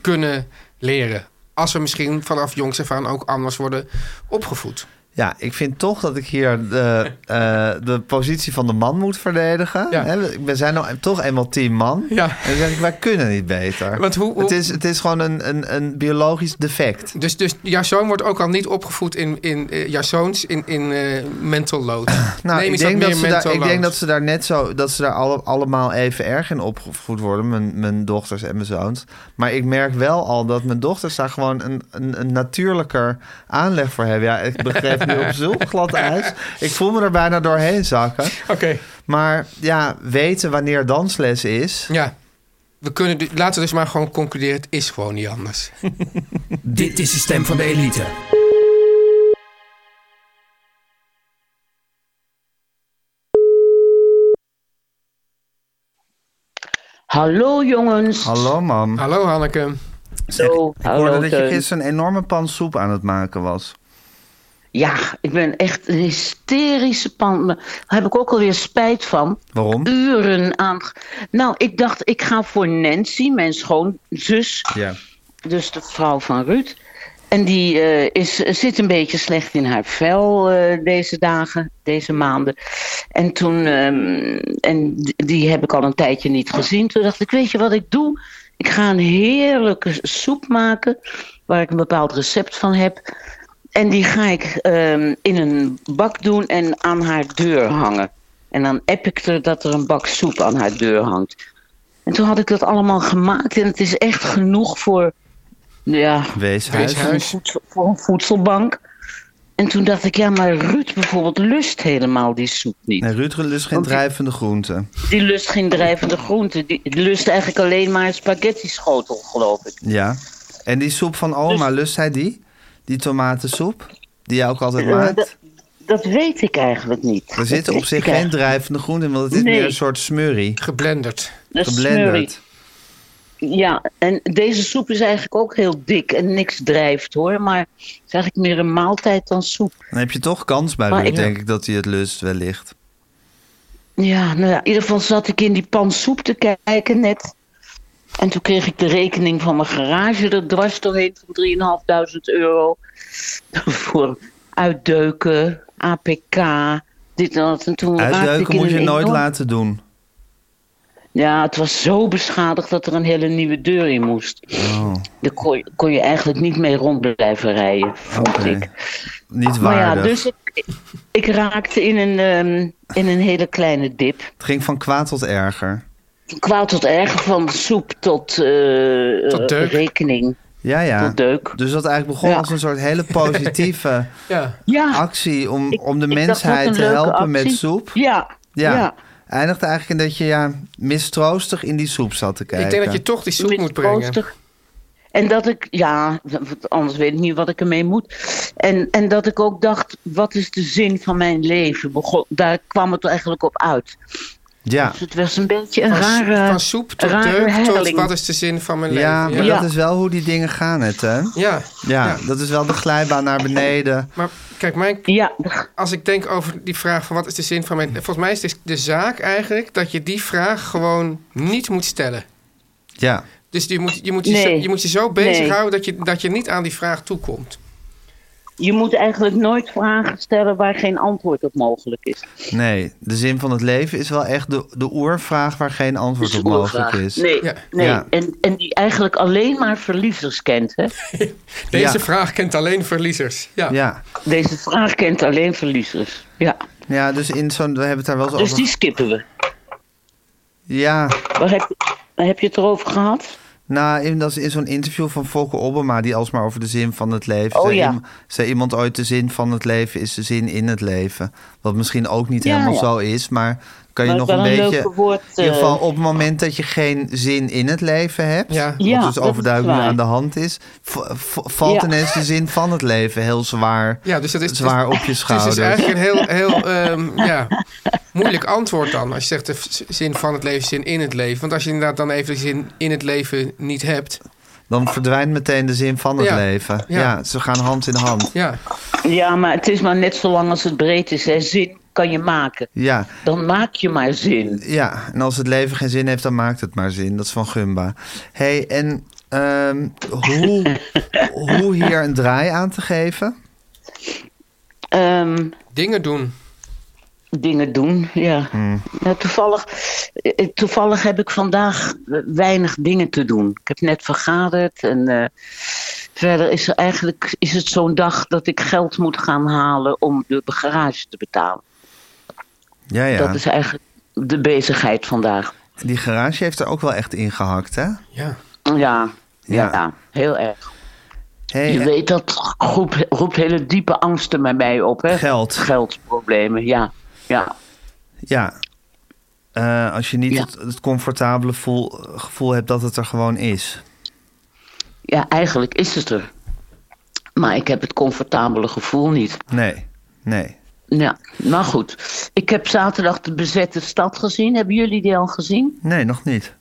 kunnen leren? Als we misschien vanaf jongs af aan ook anders worden opgevoed. Ja, ik vind toch dat ik hier de, eh, de positie van de man moet verdedigen. Ja. Hè, we- We zijn nou toch eenmaal team man. Ja. En dan zeg ik, wij kunnen niet beter. Want hoe- hoe- Het, is, het is gewoon een, een, een biologisch defect. Dus, dus jouw zoon wordt ook al niet opgevoed in, in eh, jouw zoons in, in eh, mental load. Nou, Neem ik, eens denk wat dat meer ze daar, mental ik load. denk dat ze daar net zo, dat ze daar alle, allemaal even erg in opgevoed worden, mijn, mijn dochters en mijn zoons. Maar ik merk wel al dat mijn dochters daar gewoon een, een, een natuurlijker aanleg voor hebben. Ja, ik begreep nu op zulk glad ijs. Ik voel me er bijna doorheen zakken. Oké. Maar ja, weten wanneer dansles is, Ja. We kunnen, de- laten we dus maar gewoon concluderen, het is gewoon niet anders. Dit is de stem van de elite. Hallo jongens. Hallo mam. Hallo Hanneke. Hallo. Ik hoorde dat je Teun. gisteren een enorme pan soep aan het maken was. Ja, ik ben echt een hysterische pan. Daar heb ik ook alweer spijt van. Waarom? Mm. Uren aan. Nou, ik dacht, ik ga voor Nancy, mijn schoonzus. Ja. Dus de vrouw van Ruud. En die eh, is, zit een beetje slecht in haar vel eh, deze dagen, deze maanden. En toen, ehm, en d- die heb ik al een tijdje niet gezien. Toen dacht ik, weet je wat ik doe? Ik ga een heerlijke soep maken, waar ik een bepaald recept van heb. En die ga ik ehm, in een bak doen en aan haar deur hangen. En dan app ik er dat er een bak soep aan haar deur hangt. En toen had ik dat allemaal gemaakt. En het is echt genoeg voor, ja, Weeshuis. voor een, voedsel- voor een voedselbank. En toen dacht ik, ja, maar Ruud bijvoorbeeld lust helemaal die soep niet. Nee, Ruud lust geen drijvende groenten. Die lust geen drijvende groenten. Die lust eigenlijk alleen maar een spaghetti schotel, geloof ik. Ja. En die soep van oma, lust hij die? Die tomatensoep? Die jij ook altijd maakt? Dat weet ik eigenlijk niet. Er zit op zich geen drijvende groenten, want het is Nee. meer een soort smurrie. Geblenderd. Geblenderd. Ja, en deze soep is eigenlijk ook heel dik en niks drijft hoor. Maar het is eigenlijk meer een maaltijd dan soep. Dan heb je toch kans bij Maar Ruud, ik- denk ik, dat hij het lust wellicht. Ja, nou ja, in ieder geval zat ik in die pan soep te kijken net. En toen kreeg ik de rekening van mijn garage er dwars doorheen van 3.500 euro. Voor uitdeuken, APK, dit en dat. En toen raakte ik Uitduiken in moet je een nooit enorm- laten doen. Ja, het was zo beschadigd dat er een hele nieuwe deur in moest. Oh. Daar kon, je- kon je eigenlijk niet mee rond blijven rijden, vond Oké. ik. Niet Maar ja, waardig. dus ik, ik raakte in een, ehm, in een hele kleine dip. Het ging van kwaad tot erger. Van kwaad tot erg, van soep tot, eh, Tot deuk. rekening. Ja, ja. Tot deuk. Dus dat eigenlijk begon Ja. als een soort hele positieve Ja. Ja, actie om, ik- om de ik dacht, wat mensheid een te leuke helpen actie. met soep. Ja, ja. Ja. Eindigt eigenlijk in dat je ja, mistroostig in die soep zat te kijken. Ik denk dat je toch die soep moet brengen. Mistroostig. En dat ik, ja, want anders weet ik niet wat ik ermee moet. En, en dat ik ook dacht, wat is de zin van mijn leven? Begon, daar kwam het eigenlijk op uit. Ja, Dus het was een beetje een Van, soep- rare... van soep tot rare deuk tot helling. wat is de zin van mijn ja, maar leven. Ja. dat is wel hoe die dingen gaan, het, hè? Ja, Ja. Ja. dat is wel de glijbaan naar beneden. Maar kijk, mijn, Ja, als ik denk over die vraag van wat is de zin van mijn... Volgens mij is het de zaak eigenlijk dat je die vraag gewoon niet moet stellen. Ja, Dus je moet je, moet je, Nee. zo, je, moet je zo bezighouden Nee. dat, je, dat je niet aan die vraag toekomt. je moet eigenlijk nooit vragen stellen waar geen antwoord op mogelijk is. nee. De zin van het leven is wel echt de, de oervraag waar geen antwoord op mogelijk Schoolvraag. is. Nee, Ja. nee. Ja. En, en die eigenlijk alleen maar verliezers kent, hè? Ja. Deze vraag kent alleen verliezers. Ja. Ja. Deze vraag kent alleen verliezers. Ja, ja, dus in zo'n... We hebben het daar wel eens dus over... die skippen we. Ja, Waar heb, je- waar heb je het erover gehad? Nou, in, dat is in zo'n interview van Volker Obama, die alsmaar over de zin van het leven. Oh, zei, ja. iem- zei iemand ooit: de zin van het leven is de zin in het leven. Wat misschien ook niet Ja, helemaal ja. zo is, maar kan je Maar nog wel een een beetje. leuke woord, in ieder geval eh. op het moment dat je geen zin in het leven hebt, Ja. wat Ja, dat dus is overduidelijk waar. aan de hand is, v- v- valt Ja. ineens de zin van het leven heel zwaar, Ja, dus dat is- zwaar op je Het is schouders. dus eigenlijk een heel, heel ehm, ja, moeilijk antwoord dan. Als je zegt de v- zin van het leven, zin in het leven. Want als je inderdaad dan even de zin in het leven niet hebt. Dan verdwijnt meteen de zin van het Ja. leven. Ja. Ja. ze gaan hand in hand. Ja, Ja, maar het is maar net zo lang als het breed is. Hè. Zin kan je maken. Ja, Dan maak je maar zin. Ja, en als het leven geen zin heeft, dan maakt het maar zin. Dat is van Gumba. hey, en ehm, hoe, hoe hier een draai aan te geven? Ehm, dingen doen. dingen doen, ja. Hmm. Nou, toevallig, eh, toevallig heb ik vandaag eh, weinig dingen te doen. Ik heb net vergaderd en eh, verder is er eigenlijk is het zo'n dag dat ik geld moet gaan halen om de garage te betalen. Ja, ja. Dat is eigenlijk de bezigheid vandaag. Die garage heeft er ook wel echt ingehakt, hè? Ja. Ja, ja. Ja. heel erg. Hey, Je eh, weet, dat roept, roept hele diepe angsten bij mij op, hè? Geld. Geldproblemen, ja. Ja, ja. Eh, als je niet Ja. het, het comfortabele voel- gevoel hebt dat het er gewoon is. Ja, eigenlijk is het er. Maar ik heb het comfortabele gevoel niet. Nee, nee. Ja, maar goed. Ik heb zaterdag de bezette stad gezien. Hebben jullie die al gezien? Nee, nog niet.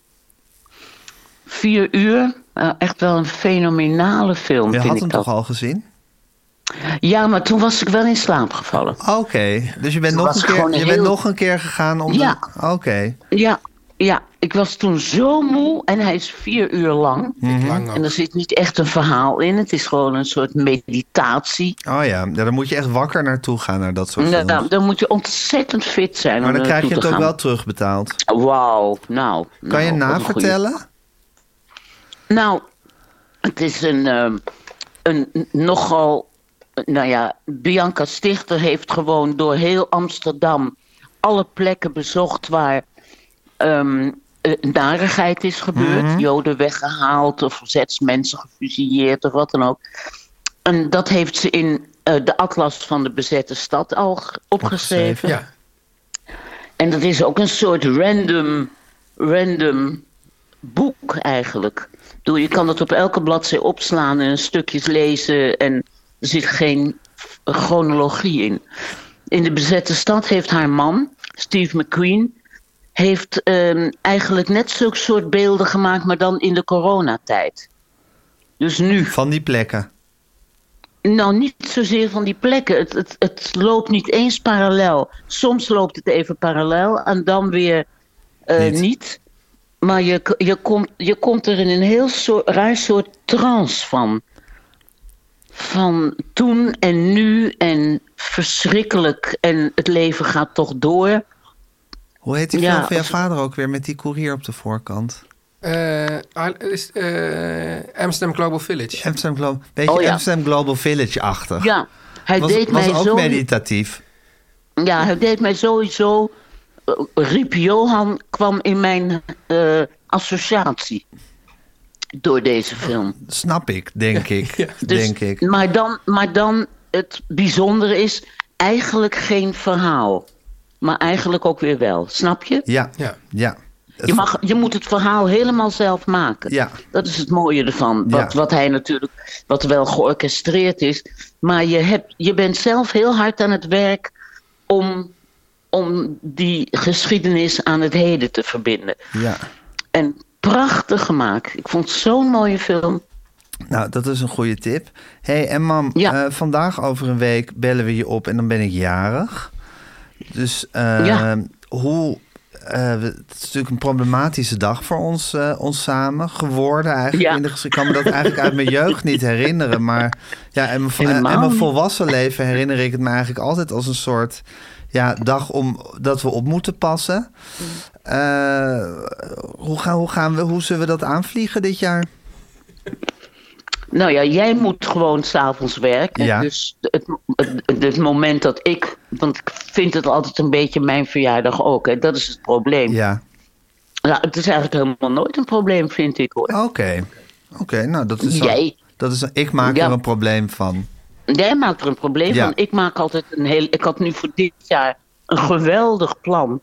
Vier uur. Eh, echt wel een fenomenale film, Je vind had ik hem dat. toch al gezien? Ja, maar toen was ik wel in slaap gevallen. Oké, dus je bent, nog was een, het gewoon keer, een je bent heel- nog een keer gegaan om... de- Ja. Oké, Ja, ja, ik was toen zo moe en hij is vier uur lang. Mhm. Lang ook. En er zit niet echt een verhaal in. Het is gewoon een soort meditatie. oh ja. ja, dan moet je echt wakker naartoe gaan naar dat soort Nou, films. dan, dan moet je ontzettend fit zijn Oh, maar om dan er krijg je naartoe het te ook gaan. wel terugbetaald. Wauw, nou. Kan je nou, wat een goeie. navertellen? Nou, het is een, ehm, een nogal. Nou ja, Bianca Stichter heeft gewoon door heel Amsterdam alle plekken bezocht waar ehm eh, narigheid is gebeurd. Mhm. Joden weggehaald of verzetsmensen gefusilleerd of wat dan ook. En dat heeft ze in eh, de Atlas van de Bezette Stad al g- opgeschreven. Ja, En dat is ook een soort random, random boek eigenlijk. Ik bedoel, je kan dat op elke bladzij opslaan en stukjes lezen en er zit geen chronologie in. In de bezette stad heeft haar man, Steve McQueen, heeft ehm, eigenlijk net zulke soort beelden gemaakt, maar dan in de coronatijd. Dus nu. Van die plekken. Nou, niet zozeer van die plekken. Het, het, het loopt niet eens parallel. Soms loopt het even parallel en dan weer eh, Niet. niet. Maar je, k- je, komt, je komt er in een heel soort, raar soort trance van. Van toen en nu en verschrikkelijk en het leven gaat toch door. Hoe heet die Ja, film van jouw als- vader ook weer met die koerier op de voorkant? Eh, ah, is, eh, Amsterdam Global Village. Amsterdam Global, beetje Oh ja. Amsterdam Global Village-achtig. Ja, hij was, deed was mij ook zo... meditatief. Ja, hij deed mij sowieso. eh, Riep Johan kwam in mijn eh, associatie door deze film. Snap ik, denk ik. Dus- Denk ik. Maar dan, maar dan het bijzondere is eigenlijk geen verhaal. Maar eigenlijk ook weer wel. Snap je? Ja, ja. Ja. Het- Je, mag, je moet het verhaal helemaal zelf maken. Ja. Dat is het mooie ervan. Wat, Ja. wat hij natuurlijk, wat wel georchestreerd is. Maar je, hebt, je bent zelf heel hard aan het werk om, om die geschiedenis aan het heden te verbinden. ja. En prachtig gemaakt. Ik vond het zo'n mooie film. Nou, dat is een goede tip. hey, en mam, Ja. eh, vandaag over een week bellen we je op en dan ben ik jarig. Dus eh, Ja. hoe... eh, we- het is natuurlijk een problematische dag voor ons, eh, ons samen geworden eigenlijk. Ja. In de, geschiedenis. ik kan me dat eigenlijk uit mijn jeugd niet herinneren. Maar ja, en mijn, vo- en Helemaal mijn niet. volwassen leven herinner ik het me eigenlijk altijd als een soort ja, dag om, dat we op moeten passen. Mm. Eh, hoe, gaan, hoe, gaan we, hoe zullen we dat aanvliegen dit jaar? Nou ja, jij moet gewoon s'avonds werken. Ja. Dus het, het, het moment dat ik. Want ik vind het altijd een beetje mijn verjaardag ook. Hè. Dat is het probleem. Ja. Nou, het is eigenlijk helemaal nooit een probleem, vind ik hoor. Oké. Oké, nou dat is. al- Jij. dat is, ik maak Ja. er een probleem van. Jij maakt er een probleem Ja. van. Ik maak altijd een heel. Ik had nu voor dit jaar een geweldig plan.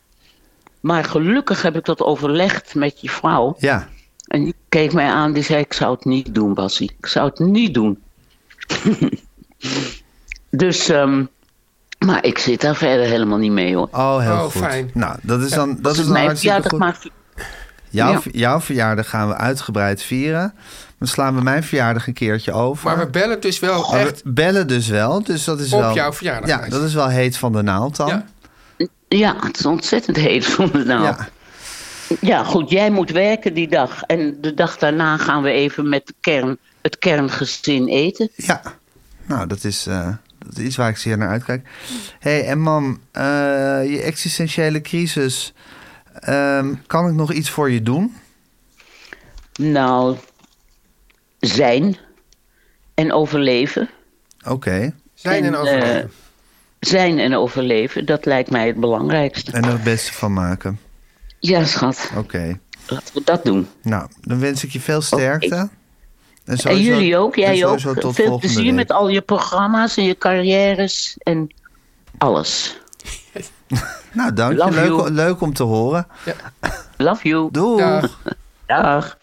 Maar gelukkig heb ik dat overlegd met je vrouw. Ja. En die keek mij aan, die zei: Ik zou het niet doen, Bassie. Ik zou het niet doen. dus, ehm, maar ik zit daar verder helemaal niet mee hoor. Dus Oh, heel Oh, goed. fijn. Nou, dat is dan, dat is dan Mijn hartstikke verjaardag goed. maakt. Jouw, ja. ver- jouw verjaardag gaan we uitgebreid vieren. Dan slaan we mijn verjaardag een keertje over. Maar we bellen dus wel Maar we echt. bellen dus wel. Dus dat is Op wel, jouw verjaardag, Ja, meisje. dat is wel heet van de naald dan. Ja. Ja, het is ontzettend heet vond het nou. Ja. Ja. goed, jij moet werken die dag. En de dag daarna gaan we even met de kern, het kerngezin eten. Ja. Nou, dat is, eh, dat is iets waar ik zeer naar uitkijk. hey, en mam, eh, je existentiële crisis. ehm, kan ik nog iets voor je doen? Nou, zijn en overleven. Oké. Zijn en En, overleven. Zijn en overleven, dat lijkt mij het belangrijkste. En er het beste van maken. Ja, schat, Oké. laten we dat doen. Nou, dan wens ik je veel sterkte. En, en sowieso- jullie ook, en jij ook. sowieso tot Veel volgende plezier week. met al je programma's en je carrières en alles. Nou, dank je. Love Leuk, you. leuk om te horen. Love you. Doeg. Dag. Dag.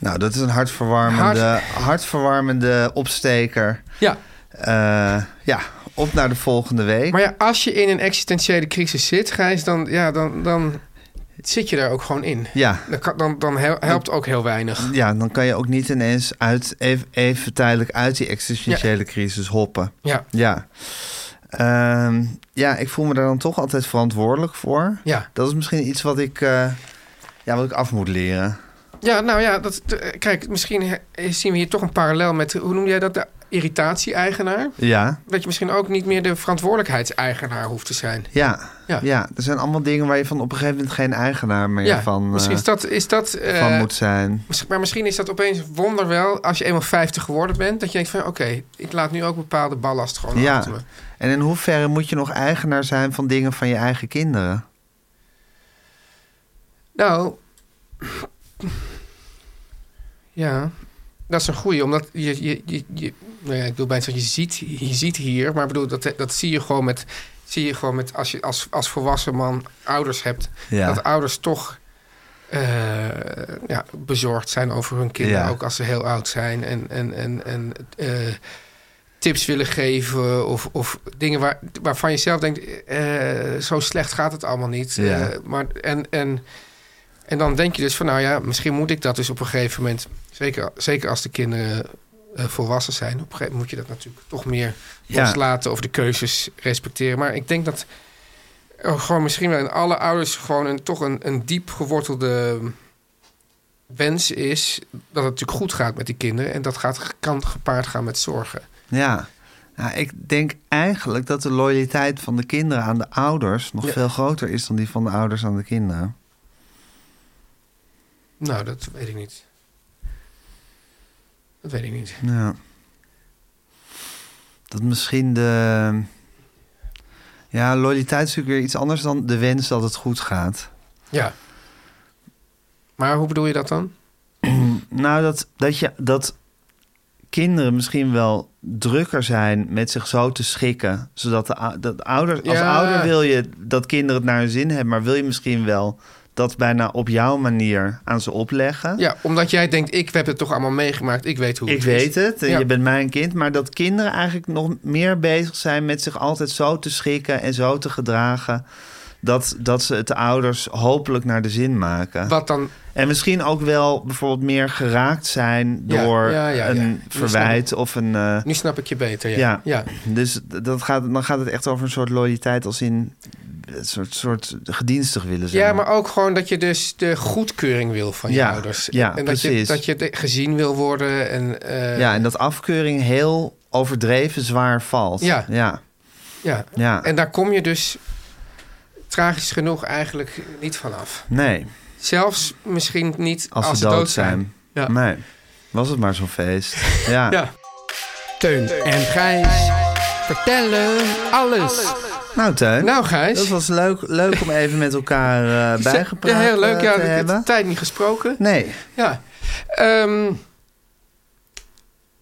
Nou, dat is een hartverwarmende, hartverwarmende opsteker. Ja, Eh, ja, op naar de volgende week. maar ja, als je in een existentiële crisis zit, Gijs, dan, ja, dan, dan zit je daar ook gewoon in. Ja. Dan, kan- dan, dan hel- helpt ook heel weinig. Ja, dan kan je ook niet ineens uit, even, even tijdelijk uit die existentiële crisis hoppen. Ja, Ja. Ehm, ja, ik voel me daar dan toch altijd verantwoordelijk voor. ja. Dat is misschien iets wat ik, eh, ja, wat ik af moet leren. Ja, nou ja, dat, eh, kijk, misschien he- zien we hier toch een parallel met, hoe noem jij dat, de irritatie-eigenaar? Ja, Dat je misschien ook niet meer de verantwoordelijkheidseigenaar hoeft te zijn. ja, ja. Ja. er zijn allemaal dingen waar je van op een gegeven moment geen eigenaar meer Ja, van, misschien eh, is dat... Is dat eh, van moet zijn. misschien- Maar misschien is dat opeens wonderwel als je eenmaal 50 geworden bent. Dat je denkt van oké, ik laat nu ook bepaalde ballast gewoon Ja. achter me. En in hoeverre moet je nog eigenaar zijn van dingen van je eigen kinderen? Nou, ja, dat is een goeie. Omdat je, je, je, je- nou ja, ik wil bijna zeggen, je ziet, je ziet hier. Maar ik bedoel, dat, dat zie je gewoon met, zie je gewoon met als je als, als volwassen man ouders hebt. Ja. Dat ouders toch eh, ja, bezorgd zijn over hun kinderen. Ja. Ook als ze heel oud zijn. En, en, en, en eh, tips willen geven. Of, of dingen waar, waarvan je zelf denkt, eh, zo slecht gaat het allemaal niet. Ja. Eh, maar, en, en, en dan denk je dus van, nou ja, misschien moet ik dat dus op een gegeven moment... Zeker, zeker als de kinderen eh, volwassen zijn, op een gegeven moment moet je dat natuurlijk toch meer Ja. loslaten of de keuzes respecteren. Maar ik denk dat er gewoon misschien wel in alle ouders gewoon een, toch een, een diep gewortelde wens is dat het natuurlijk goed gaat met die kinderen. En dat gaat, kan gepaard gaan met zorgen. Ja. Nou, ik denk eigenlijk dat de loyaliteit van de kinderen aan de ouders nog Ja. veel groter is dan die van de ouders aan de kinderen. Nou, dat weet ik niet. Dat weet ik niet. Ja. Dat misschien de. Ja, loyaliteit is natuurlijk weer iets anders dan de wens dat het goed gaat. Ja. Maar hoe bedoel je dat dan? Nou, dat, dat, je, dat kinderen misschien wel drukker zijn met zich zo te schikken. Zodat de, ou- dat ouders, als Ja. ouder wil je dat kinderen het naar hun zin hebben, maar wil je misschien wel dat bijna op jouw manier aan ze opleggen. Ja, omdat jij denkt, ik heb het toch allemaal meegemaakt. Ik weet hoe het Ik is. weet het, en Ja. je bent mijn kind. Maar dat kinderen eigenlijk nog meer bezig zijn met zich altijd zo te schikken en zo te gedragen. Dat, dat ze het de ouders hopelijk naar de zin maken. Wat dan En misschien ook wel bijvoorbeeld meer geraakt zijn Ja, door ja, ja, ja. een Nu verwijt of een. eh, Nu snap ik je beter, ja. Ja. ja. dus d- dat gaat, dan gaat het echt over een soort loyaliteit als in een soort, soort gedienstig willen zijn. Ja, maar ook gewoon dat je dus de goedkeuring wil van je Ja, ouders. ja, en dat precies. je, dat je de- gezien wil worden. En, eh, ja, en dat afkeuring heel overdreven zwaar valt. Ja. ja. ja. ja. En daar kom je dus tragisch genoeg eigenlijk niet vanaf. nee. Zelfs misschien niet Als, ze dood, zijn. Ja. Nee, was het maar zo'n feest. Ja. Ja. Teun en Gijs vertellen alles. Nou, Teun. Nou, Gijs. dat was leuk, leuk om even met elkaar eh, bijgepraat ja, heel leuk. eh, Ja, te ik heb hebben. de tijd niet gesproken. Nee, Ja. Ehm,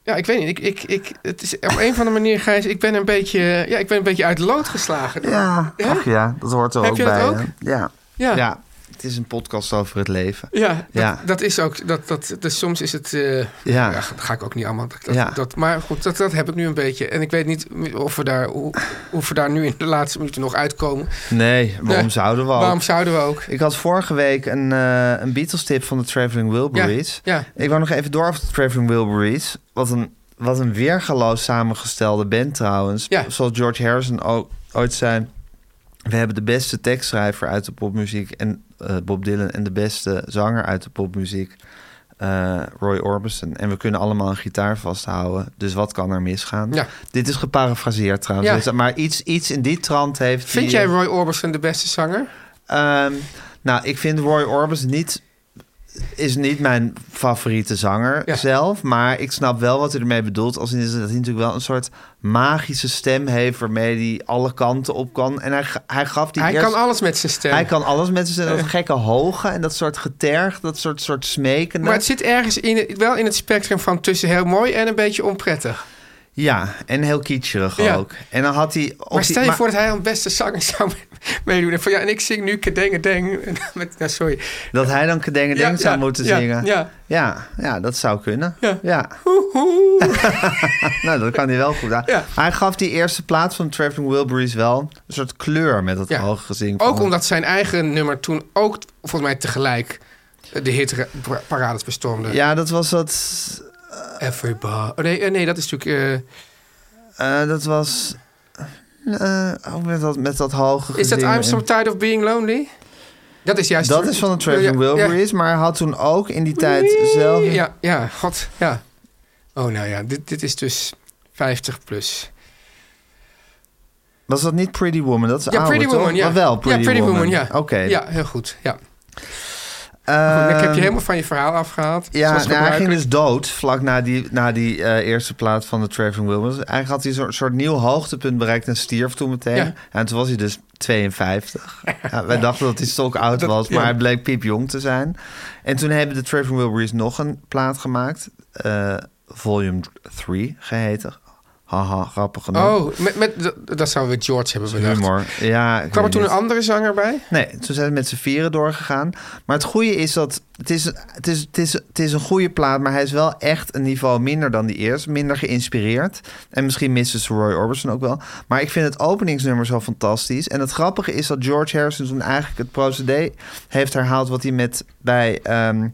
ja, ik weet niet. Ik, ik, ik, het is op een of andere manier, Gijs, ik ben een beetje, ja, ik ben een beetje uit de lood geslagen. door- ja. Ach ja, dat hoort er Heb ook je dat bij. ook? hè? Ja. Ja. ja. het is een podcast over het leven. Ja, dat, Ja. dat is ook. Dat, dat, dus soms is het. eh, Ja. ja. dat ga ik ook niet allemaal. Dat, dat- Ja. dat, maar goed, dat, dat heb ik nu een beetje. En ik weet niet of we daar, hoe, of we daar nu in de laatste minuten nog uitkomen. Nee, waarom Nee. zouden we al? Waarom zouden we ook? Ik had vorige week een, eh, een Beatles-tip van de Traveling Wilburys. Ja, ja. Ik wou nog even door over de Traveling Wilburys. Wat een, wat een weergaloos samengestelde band trouwens. Ja. Zoals George Harrison ook ooit zei... We hebben de beste tekstschrijver uit de popmuziek... en eh, Bob Dylan en de beste zanger uit de popmuziek... eh, Roy Orbison. En we kunnen allemaal een gitaar vasthouden. Dus wat kan er misgaan? Ja. Dit is geparafraseerd trouwens. Ja. Dus- Maar iets, iets in die trant heeft... Vind die- eh, jij Roy Orbison de beste zanger? Ehm, nou, ik vind Roy Orbison niet is niet mijn favoriete zanger Ja. zelf, maar ik snap wel wat hij ermee bedoelt. Als in is dat hij natuurlijk wel een soort magische stem heeft waarmee hij alle kanten op kan. En hij, ga- hij gaf die Hij eerst- kan alles met zijn stem. hij kan alles met zijn dat gekke hoge en dat soort geterg, dat soort soort smekende. Maar het zit ergens in, het- wel in het spectrum van tussen heel mooi en een beetje onprettig. Ja, en heel kitscherig Ja. ook. En dan had hij... op maar die- stel je maar- voor dat hij aan beste zanger zou me- meedoen. En, van, ja, en ik zing nu Kedenge Deng. Met, ja, sorry. Dat hij dan Kedenge Ja, Deng zou ja, moeten ja, zingen. ja. ja, ja, dat zou kunnen. Ja. ja. nou, dat kan hij wel goed aan. Ja. Hij gaf die eerste plaats van Traveling Wilburys wel een soort kleur met dat Ja. hoge gezing. Ook van- omdat zijn eigen nummer toen ook volgens mij tegelijk eh, de hitparades bestormde. Ja, dat was dat... Everybody. Oh, nee, eh, nee, dat is natuurlijk... eh, eh, dat was... eh, ook met dat, met dat hoge gezing. is dat I'm en- So Tired of Being Lonely? Dat is juist... Dat is van de Traveling Ja, ja. Wilburys, maar hij had toen ook in die tijd zelf... Ja, ja, god, ja. Oh, nou ja, dit, dit is dus 50 plus. Was dat niet Pretty Woman? Dat is Ja, ouder, Pretty toch? Woman, ja. Maar wel Pretty, ja, Pretty Woman. ja. Oké. Ja, heel goed, ja. Ehm, Goed, dan heb je helemaal van je verhaal afgehaald. Ja, zoals nou, hij ging gebruikelijk. dus dood vlak na die, na die eh, eerste plaats van de Traveling Wilburys. Eigenlijk had hij een soort, soort nieuw hoogtepunt bereikt en stierf toen meteen. Ja. En toen was hij dus 52. Ja, wij dachten dat hij stokoud Dat- was, maar ja. hij bleek piepjong te zijn. En toen hebben de Traveling Wilburys nog een plaat gemaakt. eh, volume 3 geheten. Haha, grappig genoeg. Oh, met, met, dat, dat zouden we George hebben bedacht. Humor. Ja, ik Kwam er weet toen een niet. andere zanger bij? Nee, toen zijn we met z'n vieren doorgegaan. Maar het goede is dat... Het is, het, is, het, is, het is een goede plaat, maar hij is wel echt een niveau minder dan die eerste. Minder geïnspireerd. En misschien Mrs. Roy Orbison ook wel. Maar ik vind het openingsnummer zo fantastisch. En het grappige is dat George Harrison toen eigenlijk het procedé heeft herhaald... wat hij met bij... ehm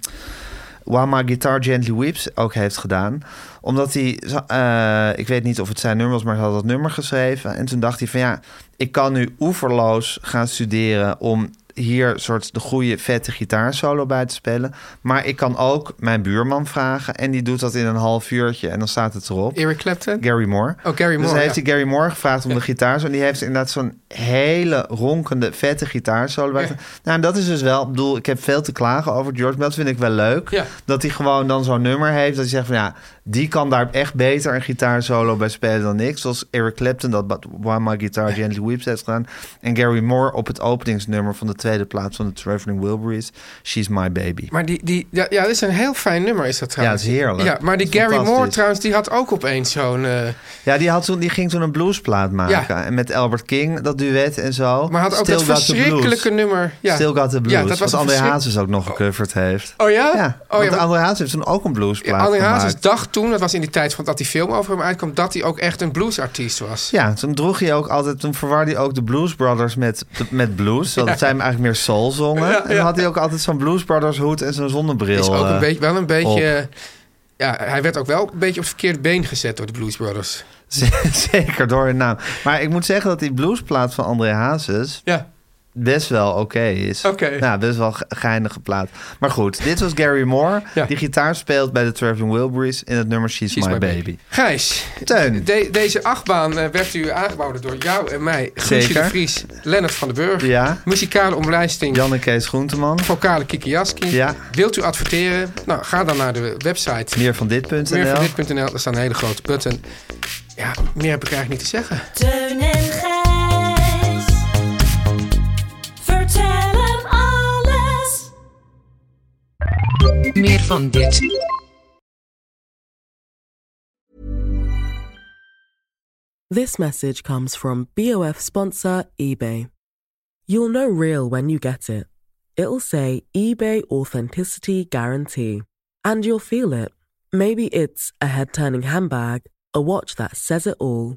While My Guitar Gently Weeps ook heeft gedaan. Omdat hij, eh, ik weet niet of het zijn nummer was, maar hij had dat nummer geschreven. En toen dacht hij van ja, ik kan nu oeverloos gaan studeren om hier soort de goede vette gitaarsolo bij te spelen. Maar ik kan ook mijn buurman vragen en die doet dat in een half uurtje en dan staat het erop. Eric Clapton? Gary Moore. Oh, Gary Dus Moore, heeft ja. hij Gary Moore gevraagd om de gitaar. En die heeft inderdaad zo'n hele ronkende, vette gitaarsolo. bij. Ja. Nou, en dat is dus wel... Ik bedoel, ik heb veel te klagen over George. Maar dat vind ik wel leuk. Ja. Dat hij gewoon dan zo'n nummer heeft. Dat hij zegt van ja, die kan daar echt beter een gitaarsolo bij spelen dan ik. Zoals Eric Clapton dat But Why My Guitar Gently Weeps heeft gedaan. En Gary Moore op het openingsnummer van de tweede plaats van de Traveling Wilburys. She's My Baby. Maar die, die, ja, ja, dat is een heel fijn nummer is dat trouwens. Ja, het is heerlijk. Ja, maar die Het is Gary Moore fantastisch. trouwens, die had ook opeens zo'n... eh, Ja, die, had toen, die ging toen een bluesplaat maken. Ja. En met Albert King, dat duet en zo. maar had ook Still dat Got the Blues. verschrikkelijke nummer. Ja. Still Got The Blues, Ja, dat was wat André verschrik- Hazes ook nog gecoverd heeft. Oh ja? Ja, oh, want ja, maar- André Hazes heeft toen ook een bluesplaat André Hazes gemaakt. dacht toen, dat was in die tijd van dat die film over hem uitkwam, dat hij ook echt een bluesartiest was. Ja, toen droeg hij ook altijd, toen verwarde hij ook de Blues Brothers met, met blues. Want het zijn eigenlijk meer soul zongen. Ja, En ja. dan had hij ook altijd zo'n Blues Brothers hoed en zo'n zonnebril. Is ook een eh, beetje, wel een beetje. Ja, hij werd ook wel een beetje op het verkeerde been gezet door de Blues Brothers. z- Zeker door hun naam. Maar ik moet zeggen dat die bluesplaat van André Hazes Ja. best wel oké is. Oké. Ja, best wel ge- geinige plaat. Maar goed, dit was Gary Moore. Ja. Die gitaar speelt bij de Traveling Wilburys in het nummer She's, She's My, my baby. Gijs, Teun. de- deze achtbaan eh, werd u aangeboden door jou en mij. Guusje Zeker. de Vries, Lennart van den Burg. Ja. Muzikale omlijsting. Jan en Kees Groenteman. Vocale Kiki Jaski. Ja. Wilt u adverteren? Nou, ga dan naar de website Meer van dit.nl. meervandit.nl. Daar staat een hele grote button. Ja, meer heb ik eigenlijk niet te zeggen. Teun en Gijs. Vertel hem alles. Meer van dit. This message comes from BOF sponsor eBay. You'll know real when you get it. It'll say eBay Authenticity Guarantee. And you'll feel it. Maybe it's a head turning handbag, a watch that says it all,